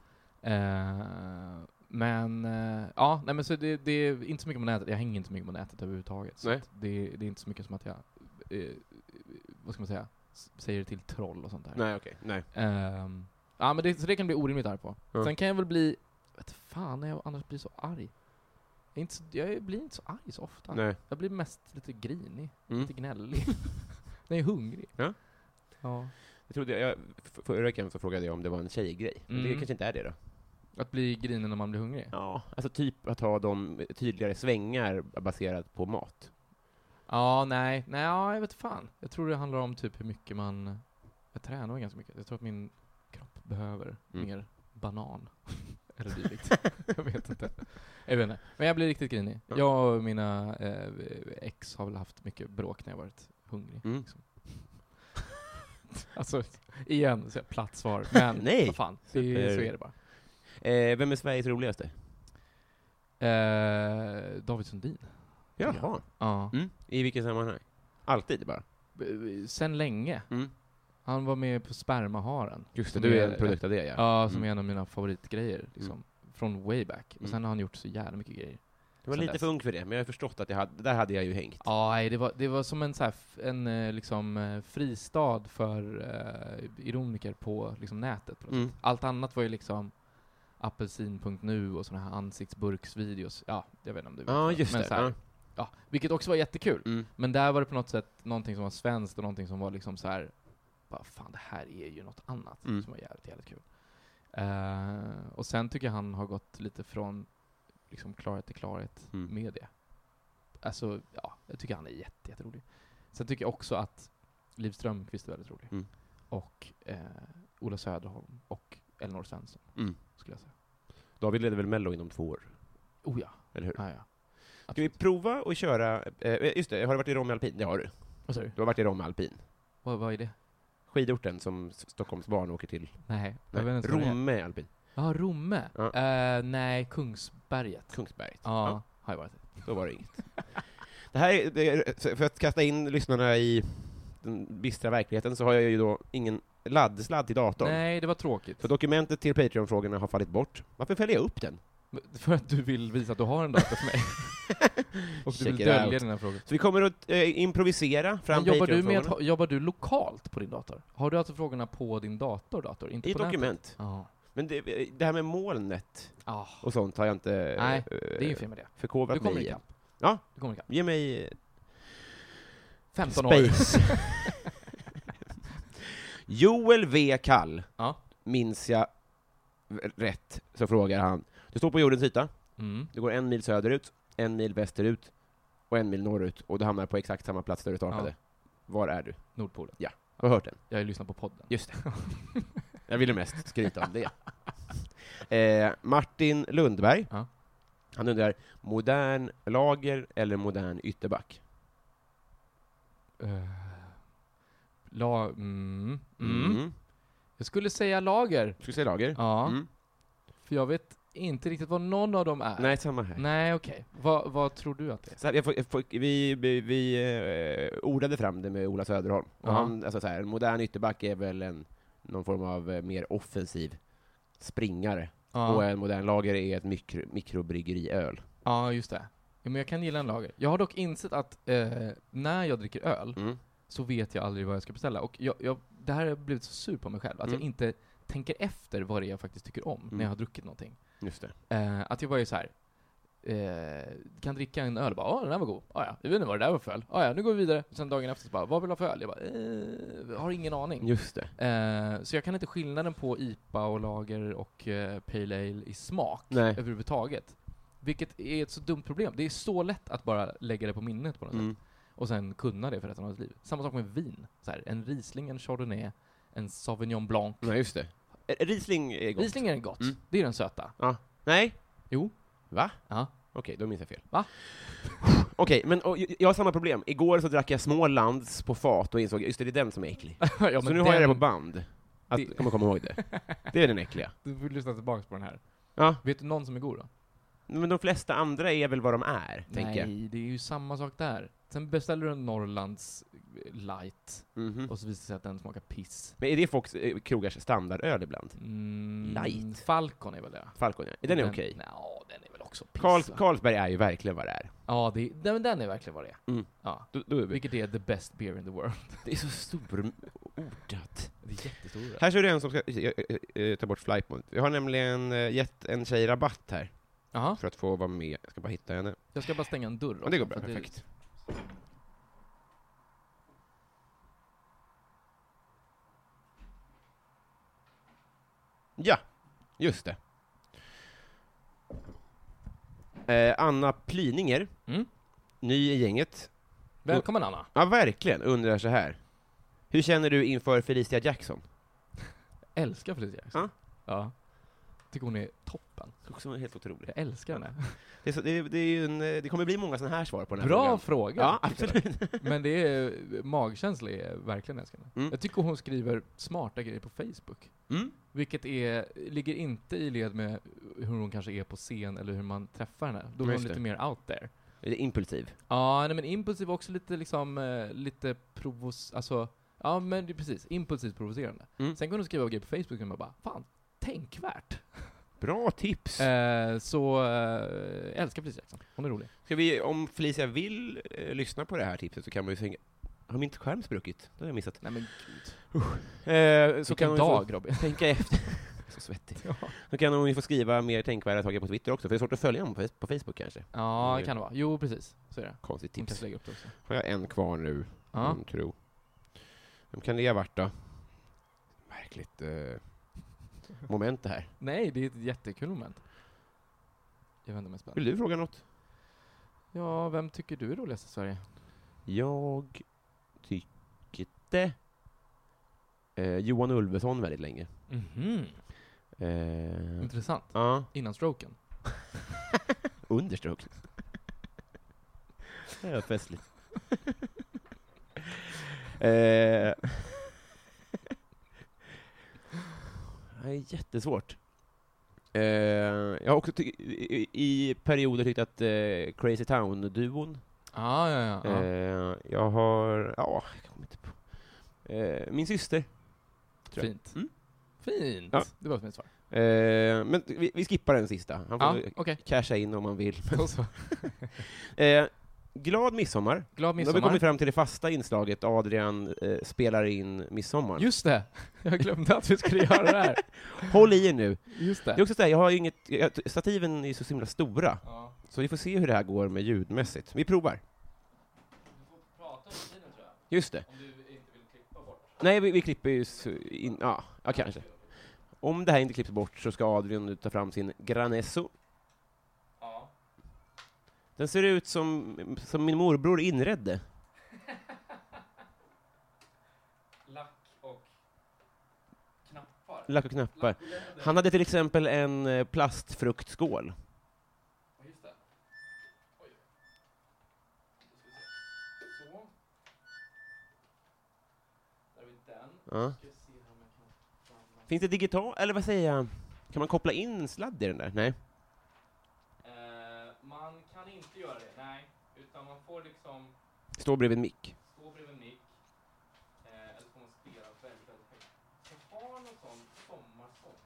C: Eh, men eh, ja, nej men så det, det är inte så mycket på nätet, jag hänger inte så mycket på nätet överhuvudtaget. Så
A: Nej.
C: att det, det är inte så mycket som att jag, eh, vad ska man säga, S- säger till troll och sånt där.
A: Nej, okej. Nej.
C: Ehm, ja men det, så det kan jag bli orimligt arg på.
A: Ja.
C: Sen kan jag väl bli, vet fan när jag annars blir så arg. Jag, är inte så, jag blir inte så arg så ofta.
A: Nej.
C: Jag blir mest lite grinig,
A: Mm.
C: lite gnällig. när jag är hungrig.
A: Ja.
C: Ja.
A: Jag trodde, jag, f- förra veckan så frågade jag om det var en tjejgrej. Men Det
C: Mm.
A: kanske inte är det då?
C: Att bli grinig när man blir hungrig? Ja,
A: Ja. Alltså typ att ha de tydligare svängar baserat på mat.
C: nej, nej, ja, jag vet fan. Jag tror det handlar om typ hur mycket man, jag tränar nog ganska mycket. Jag tror att min kropp behöver
A: Mm.
C: mer banan. Eller dylikt. jag vet inte. Jag vet inte. Men jag blir riktigt grinig.
A: Ja.
C: Jag och mina eh, ex har väl haft mycket bråk när jag varit hungrig.
A: Mm.
C: Liksom. alltså, igen, så jag platt svar. Men
A: Nej.
C: vad fan, det,
A: Super.
C: så är det bara.
A: Eh, vem är Sveriges roligaste?
C: Eh, David Sundin.
A: Jaha.
C: Ja.
A: Mm. I vilket sammanhang? Alltid bara?
C: B- Eh, Sen länge.
A: Mm.
C: Han var med på Spermaharen.
A: Just det,
C: Som
A: du är en produkt av det ja.
C: Ja, som
A: Mm.
C: är en av mina favoritgrejer. Liksom. Från way back. Och
A: Mm.
C: sen har han gjort så jävla mycket grejer.
A: Jag var
C: Sen
A: lite
C: dess.
A: för ung för det, men jag har förstått att jag hade, där hade jag ju hängt.
C: Ja, nej, det var, det var som en, så här, f- en eh, liksom, eh, fristad för eh, ironiker på liksom, nätet. På något
A: Mm.
C: sätt. Allt annat var ju liksom apelsin.nu och sådana här ansiktsburksvideos. Ja, jag vet inte om du vet.
A: Ja,
C: vad.
A: just
C: Men
A: det.
C: så här,
A: Ja.
C: ja, vilket också var jättekul.
A: Mm.
C: Men där var det på något sätt någonting som var svenskt och någonting som var liksom så här. Bara, fan det här är ju något annat
A: Mm.
C: som var jävligt, jävligt kul. Eh, och sen tycker jag han har gått lite från liksom klarhet till klarhet
A: Mm.
C: med det. Alltså, ja, jag tycker han är jätte, jätterolig. Sen tycker jag också att Liv Strömquist är väldigt rolig.
A: Mm.
C: Och eh, Ola Söderholm och Elinor Svensson,
A: Mm.
C: skulle jag säga.
A: David leder väl Mello inom två år,
C: Oh ja,
A: eller hur?
C: ja, ja.
A: Ska vi prova och köra, eh, just det, har du varit i Romme Alpin? Det har du.
C: Vad sa du?
A: Du har varit i Romme Alpin.
C: Vad, vad är det?
A: Skidorten som S- Stockholms barn åker till.
C: Nej, jag vet
A: Nej,
C: inte vad det är.
A: Romme Alpin.
C: Ja, Romme.
A: Ja.
C: Eh, nej, Kungsberget.
A: Kungsberget.
C: Ja, har jag varit.
A: Då var det inget. Det här är, det är, för att kasta in lyssnarna i den bistra verkligheten så har jag ju då ingen laddsladd till datorn.
C: Nej, det var tråkigt.
A: Så
C: För,
A: dokumentet till Patreon-frågorna har fallit bort. Varför fäller jag upp den?
C: att du vill visa att du har en dator för mig. Och du
A: Check
C: vill
A: it
C: dölja
A: out.
C: dina frågor.
A: Så vi kommer att eh, improvisera fram
C: Men jobbar, du med att,
A: Patreon-frågorna.
C: ha- jobbar du lokalt på din dator? Har du alltså frågorna på din dator, dator? Inte
A: I
C: på nätet?
A: dokument.
C: Ja.
A: Men det, eh, det här med molnet
C: Ja,
A: och sånt har jag inte
C: Nej,
A: eh,
C: det är ju fel med det. Du
A: förkovrat
C: kommer
A: mig i.
C: ikapp.
A: Ja.
C: Du kommer ikapp.
A: Ge mig eh,
C: 15 år.
A: space. Joel V. Kall,
C: Ja.
A: minns jag rätt, så frågar han. Du står på jordens yta,
C: Mm.
A: du går en mil söderut, en mil västerut och en mil norrut och du hamnar på exakt samma plats där du startade. Var är du?
C: Nordpolen.
A: Har du hört den?
C: Jag har ju lyssnat på podden.
A: Just det. Jag ville mest skryta om det. Eh, Martin Lundberg,
C: Ja.
A: han undrar, modern lager eller modern ytterback?
C: Uh, la... Mm. Mm. Jag skulle säga lager.
A: Ska vi säga lager?
C: Ja.
A: Mm.
C: För jag vet inte riktigt vad någon av dem är.
A: Nej, samma här.
C: Nej, okej. Vad- vad tror du att det är?
A: Så här, jag får, jag får, vi vi, vi eh, ordade fram det med Ola Söderholm. Och
C: Ja.
A: han, alltså så här, en modern ytterback är väl en, någon form av eh, mer offensiv springare. Och
C: Ja,
A: en modern lager är ett mikro, mikrobryggeriöl.
C: ja just det. Ja, men jag kan gilla en lager. Jag har dock insett att eh, när jag dricker öl
A: Mm.
C: så vet jag aldrig vad jag ska beställa. Och jag, jag, det här har jag blivit så sur på mig själv, att
A: Mm.
C: jag inte tänker efter vad det är jag faktiskt tycker om när jag har druckit någonting.
A: Just det.
C: Eh, att jag bara är så här. Eh, kan dricka en öl och bara åh den där var god, ah, ja, jag vet inte vad det där var för öl, ah, ja, nu går vi vidare. Sen dagen efter så bara, vad vill du ha för öl? Jag bara, eh, har ingen aning.
A: Just det.
C: Eh, så jag kan inte skillnaden på IPA och lager och eh, Pale Ale i smak
A: Nej.
C: överhuvudtaget. Vilket är ett så dumt problem. Det är så lätt att bara lägga det på minnet på något sätt.
A: Mm.
C: Och sen kunna det för resten av ens liv. Samma sak med vin. Så här, en Riesling, en Chardonnay, en Sauvignon Blanc.
A: Nej, just det. Eh, Riesling är gott.
C: Riesling är gott.
A: Mm.
C: Det är den söta.
A: Nej?
C: Jo.
A: Va?
C: Ja.
A: Okej, då minns jag fel.
C: Va?
A: Okej, men och, jag- jag har samma problem. Igår så drack jag Smålands på fat och insåg just det, det är den som är äcklig.
C: ja
A: så nu har jag det på band. Att,
C: Det-
A: Kommer komma ihåg det. Det är den äckliga.
C: Du får lyssna tillbaka på den här.
A: Ja.
C: Vet du någon som är god då?
A: Men de flesta andra är väl vad de är, tänker jag.
C: Nej, det är ju samma sak där. Sen beställer du en Norrlands eh, light,
A: Mhm.
C: och så visar det sig att den smakar piss.
A: Men är det folks eh, krogars standardöl ibland?
C: Mm,
A: Light?
C: Falcon är väl det?
A: Falcon, ja. Den är okej.
C: Ja, den är väl också piss.
A: Karls,
C: va?
A: Carlsberg är ju verkligen vad det är.
C: Ja, det, den, men den är verkligen vad det är.
A: Mm.
C: Ja.
A: Då, då är vi.
C: Vilket är the best beer in the world.
A: Det är så storordat.
C: Det är jättestora.
A: Här ser du en som ska eh, eh, eh, ta bort flight mode. Jag har nämligen eh, gett en tjej rabatt här
C: Jaha,
A: för att få vara med. Jag ska bara hitta henne.
C: jag ska bara stänga en dörr.
A: Ja, det går
C: också,
A: bra.
C: för att
A: Perfekt. Ja, just det. Eh, Anna Plyninger,
C: Mm.
A: ny i gänget.
C: Välkommen Anna.
A: Ja, verkligen. Undrar så här. Hur känner du inför Felicia Jackson?
C: Älskar Felicia Jackson.
A: Ja.
C: ja. Tycker hon är toppen.
A: Också helt otroligt.
C: Jag älskar henne.
A: Det, är så, det, är, det, är ju en, eh, det kommer bli många sådana här svar på den här
C: Bra
A: frågan.
C: fråga.
A: Ja,
C: tycker jag.
A: absolut.
C: Men det är, magkänsla är verkligen älskande.
A: Mm.
C: Jag tycker hon skriver smarta grejer på Facebook.
A: Mm.
C: Vilket är, ligger inte i led med hur hon kanske är på scen eller hur man träffar henne. Då är
A: Just
C: hon lite
A: det.
C: mer out there.
A: Det är impulsiv.
C: Ja, nej, men impulsiv också lite liksom, eh, lite provos... Alltså, ja men det är precis, impulsivt provocerande.
A: Mm.
C: Sen kan hon skriva grejer på Facebook och man bara, fan, tänkvärt.
A: Bra tips!
C: Eh, så, eh, älskar Felicia Jackson. Hon är rolig.
A: Ska vi, om Felicia vill eh, lyssna på det här tipset så kan man ju sänga... Har min skärm spruckit? Det har jag missat.
C: Nej men gud.
A: Eh, så
C: Vilken
A: kan hon ju
C: dag Robin.
A: få tänka efter. så svettig.
C: Ja.
A: Då kan hon ju få skriva mer tänkvärda saker på Twitter också, för det är svårt att följa honom på, på Facebook kanske.
C: ja, kan det vara. Jo, precis. Så är det.
A: Konstigt
C: Hon kanske
A: tips. Mm.
C: lägger upp det också.
A: Har jag en kvar nu?
C: Ja.
A: Mm, tro. Vem kan det ha varit då? Märkligt eh, moment det här.
C: Nej, det är ett jättekul moment. Jag vänder mig
A: Vill
C: spänd.
A: du fråga något?
C: Ja, vem tycker du är roligast i Sverige?
A: Jag tyckte eh, Johan Ulveson väldigt länge.
C: Mhm.
A: Eh,
C: Intressant.
A: ja,
C: Innan stroken.
A: understroke. Det var festligt. eh, det är jättesvårt. Eh, jag har också ty- i, i i perioder tyckt att eh, Crazy Town-duon
C: Ah, ja, ja, ja.
A: Eh, jag har... Ja, jag kommer inte på. Eh, min syster. tror jag.
C: Fint.
A: Mm.
C: Fint!
A: Ja.
C: Det var mitt svar.
A: Eh, men vi, vi skippar den sista. Han får
C: Ja,
A: eh,
C: okej.
A: casha in om han vill.
C: Då så.
A: Eh, glad midsommar.
C: Glad
A: Nu har vi
C: midsommar.
A: kommit fram till det fasta inslaget Adrian eh, spelar in midsommar.
C: Just det! Jag glömde att vi skulle göra det här.
A: Håll i er nu.
C: Just
A: Det är
C: det.
A: också så här, jag har ju inget... Jag, stativen är ju så himla stora,
C: Ja.
A: så vi får se hur det här går med ljudmässigt. Vi provar. Just det. Nej, vi, vi klipper ju s- in, ja, ja, kanske. Om det här inte klipps bort så ska Adrian nu ta fram sin Granesso. Den ser ut som, som min morbror inredde.
C: Lack och knappar.
A: Lack och knappar. Han hade till exempel en eh, plastfruktskål.
C: Just det. Oj. Så. Där har vi den.
A: Ja.
C: Ska se här om jag kan få fram den.
A: Finns det digital, eller vad säger jag? Kan man koppla in en sladd i den där? Nej.
C: Eh, man kan inte göra det, nej. Utan man får liksom
A: Står bredvid en mick.
C: stå bredvid mick. Eh, eller så får man spela väldigt, väldigt högt. Jag har någon sån sommarsång.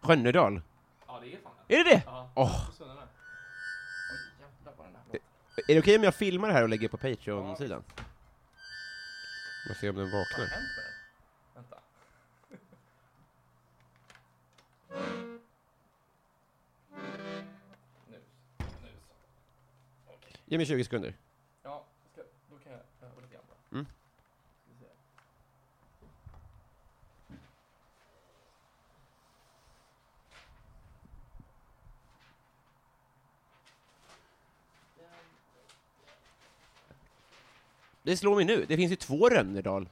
C: Ska se.
A: Rönnedal?
C: Ja, det är fan
A: Är det det?
C: Ja.
A: Åh, Eh, är det okej om jag filmar det här och lägger på Patreon-sidan? Vi får se om den vaknar. Ge mig 20 sekunder.
C: Ja, ska, då kan jag öva lite grann bara.
A: Mm.
C: Ska vi se.
A: Det slår mig nu, det finns ju två Rönnerdal.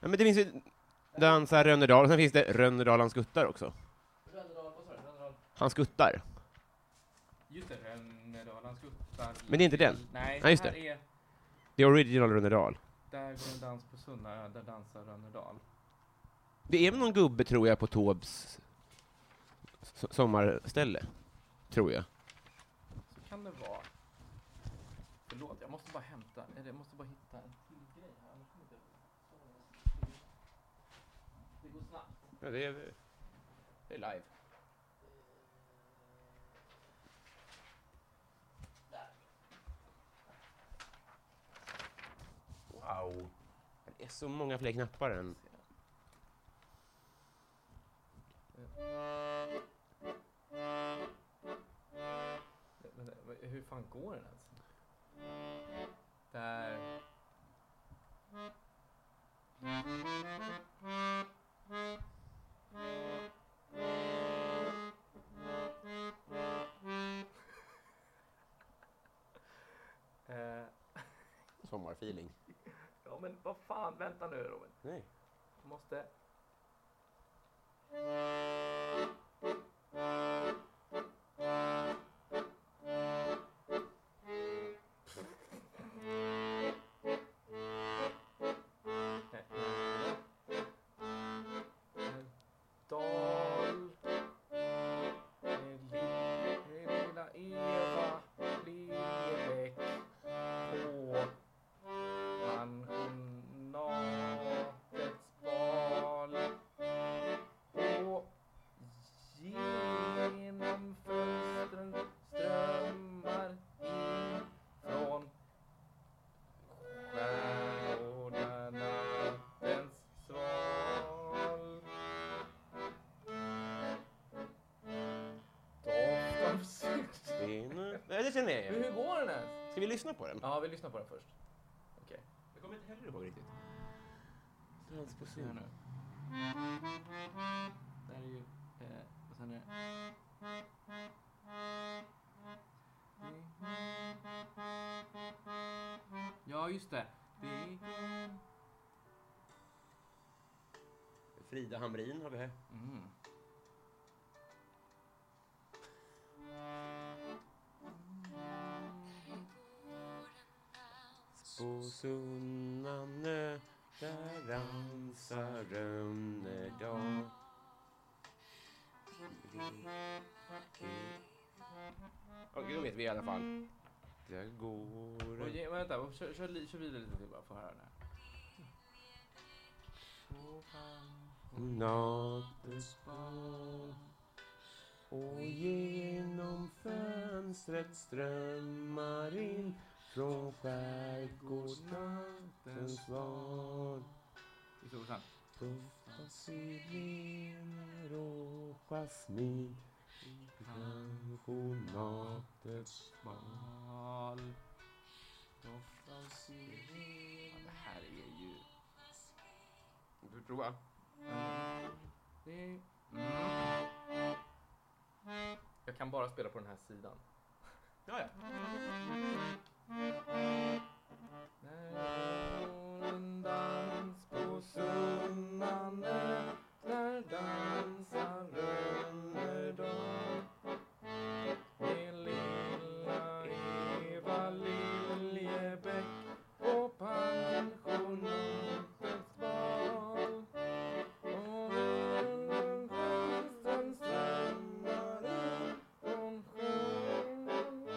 A: Ja, men det finns ju Dansa Rönnerdal, och sen finns det Rönnerdal han skuttar också.
C: Rönnedal, vad sa du? Rönnedal?
A: Han skuttar.
C: Just det, Rönnedal. Han skuttar i-
A: Men det är inte den.
C: Nej,
A: Ja, just
C: här
A: det.
C: är
A: The original Rönnerdal.
C: Där går en dans på Sunna, där dansar Rönnedal.
A: Det är väl någon gubbe, tror jag, på Tobs s- sommarställe. Tror jag.
C: Så kan det vara. Förlåt, jag måste bara hämta, eller jag måste bara hitta en till grej här. annars kommer det- Det går snabbt.
A: Ja, det, är, det är live. Wow. Det är så många fler knappar än...
C: Men, men, hur fan går den ens? Där. Eh,
A: Sommarfeeling.
C: ja men vad fan, vänta nu Robin.
A: Nej.
C: Jag måste... Dal... Lilla Eva Lerbäck på pensionatets bal och genom fönstren strömmar in från stjärnorna nattens sval Doft av sylt.
A: Nej, det känner jag igen.
C: Hur går den ens?
A: Ska vi lyssna på den?
C: Ja, vi lyssnar på den först. Okej.
A: Jag kommer inte heller ihåg riktigt.
C: på scen nu. Där är ju... Eh, och sen är det... Ja, just det. Det är...
A: Frida Hamrin har vi här.
C: Mm.
A: På Sunnanö där dansar Rönnerdal Okej, då vet vi i alla fall. Där går...
C: Och, ge- vänta, kör, kör, li- kör vidare lite till bara för att höra den här.
A: Nattens bad och genom fönstret strömmar in från skärgårdsnattens val
C: Vi står sen.
A: Doftar sirener och jasmin i pensionatets bad
C: Mal.
A: Doftar
C: Ja,
A: sirener
C: det här är ju...
A: Du prova.
C: Det... Mm. Jag kan bara spela på den här sidan.
A: Ja, ja.
C: När våren dans på Sunnanö, där dansar Rönnerdal. Med lilla Eva Liljebäck på pensionatets bal. Och genom fönstren strömmar in från stjärnorna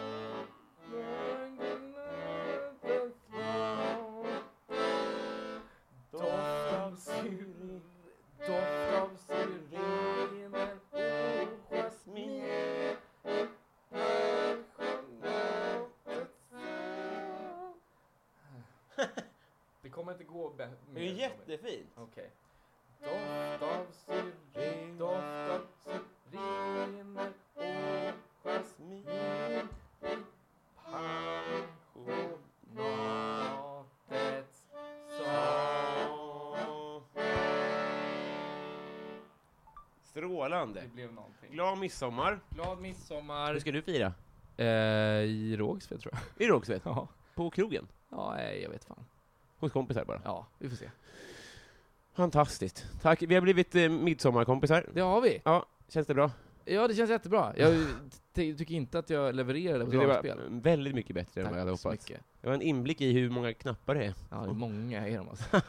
C: kommer inte gå bä- mer.
D: Det är jättefint.
C: Okej. Doft av syren, doft av syrener och jasmin i passionatets sång. Det
A: Strålande.
C: blev någonting.
A: Glad midsommar.
C: Glad midsommar.
A: Hur ska du fira?
C: Eh, I Rågsved tror jag.
A: I Rågsved?
C: Ja.
A: På krogen?
C: Ja, nej, jag vet fan.
A: Hos kompisar bara?
C: Ja, vi får se.
A: Fantastiskt. Tack. Vi har blivit eh, midsommarkompisar.
C: Det har vi.
A: Ja, känns det bra?
C: Ja, det känns jättebra. Jag ty- tycker inte att jag levererade på
A: Det var
C: dragspel.
A: väldigt mycket bättre än vad jag hade
C: Tack så
A: hoppats.
C: mycket.
A: Det var en inblick i hur många knappar det är.
C: Ja, det är många är de alltså.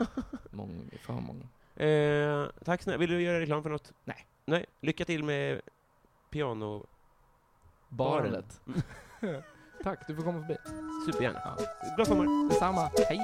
C: Många, för många.
A: Eh, tack snälla. Vill du göra reklam för något?
C: Nej.
A: Nej. Lycka till med piano...
C: Barnet. Tack, du får komma förbi.
A: Supergärna.
C: Ja.
A: Glad sommar.
C: Detsamma. Hej!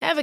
E: Ever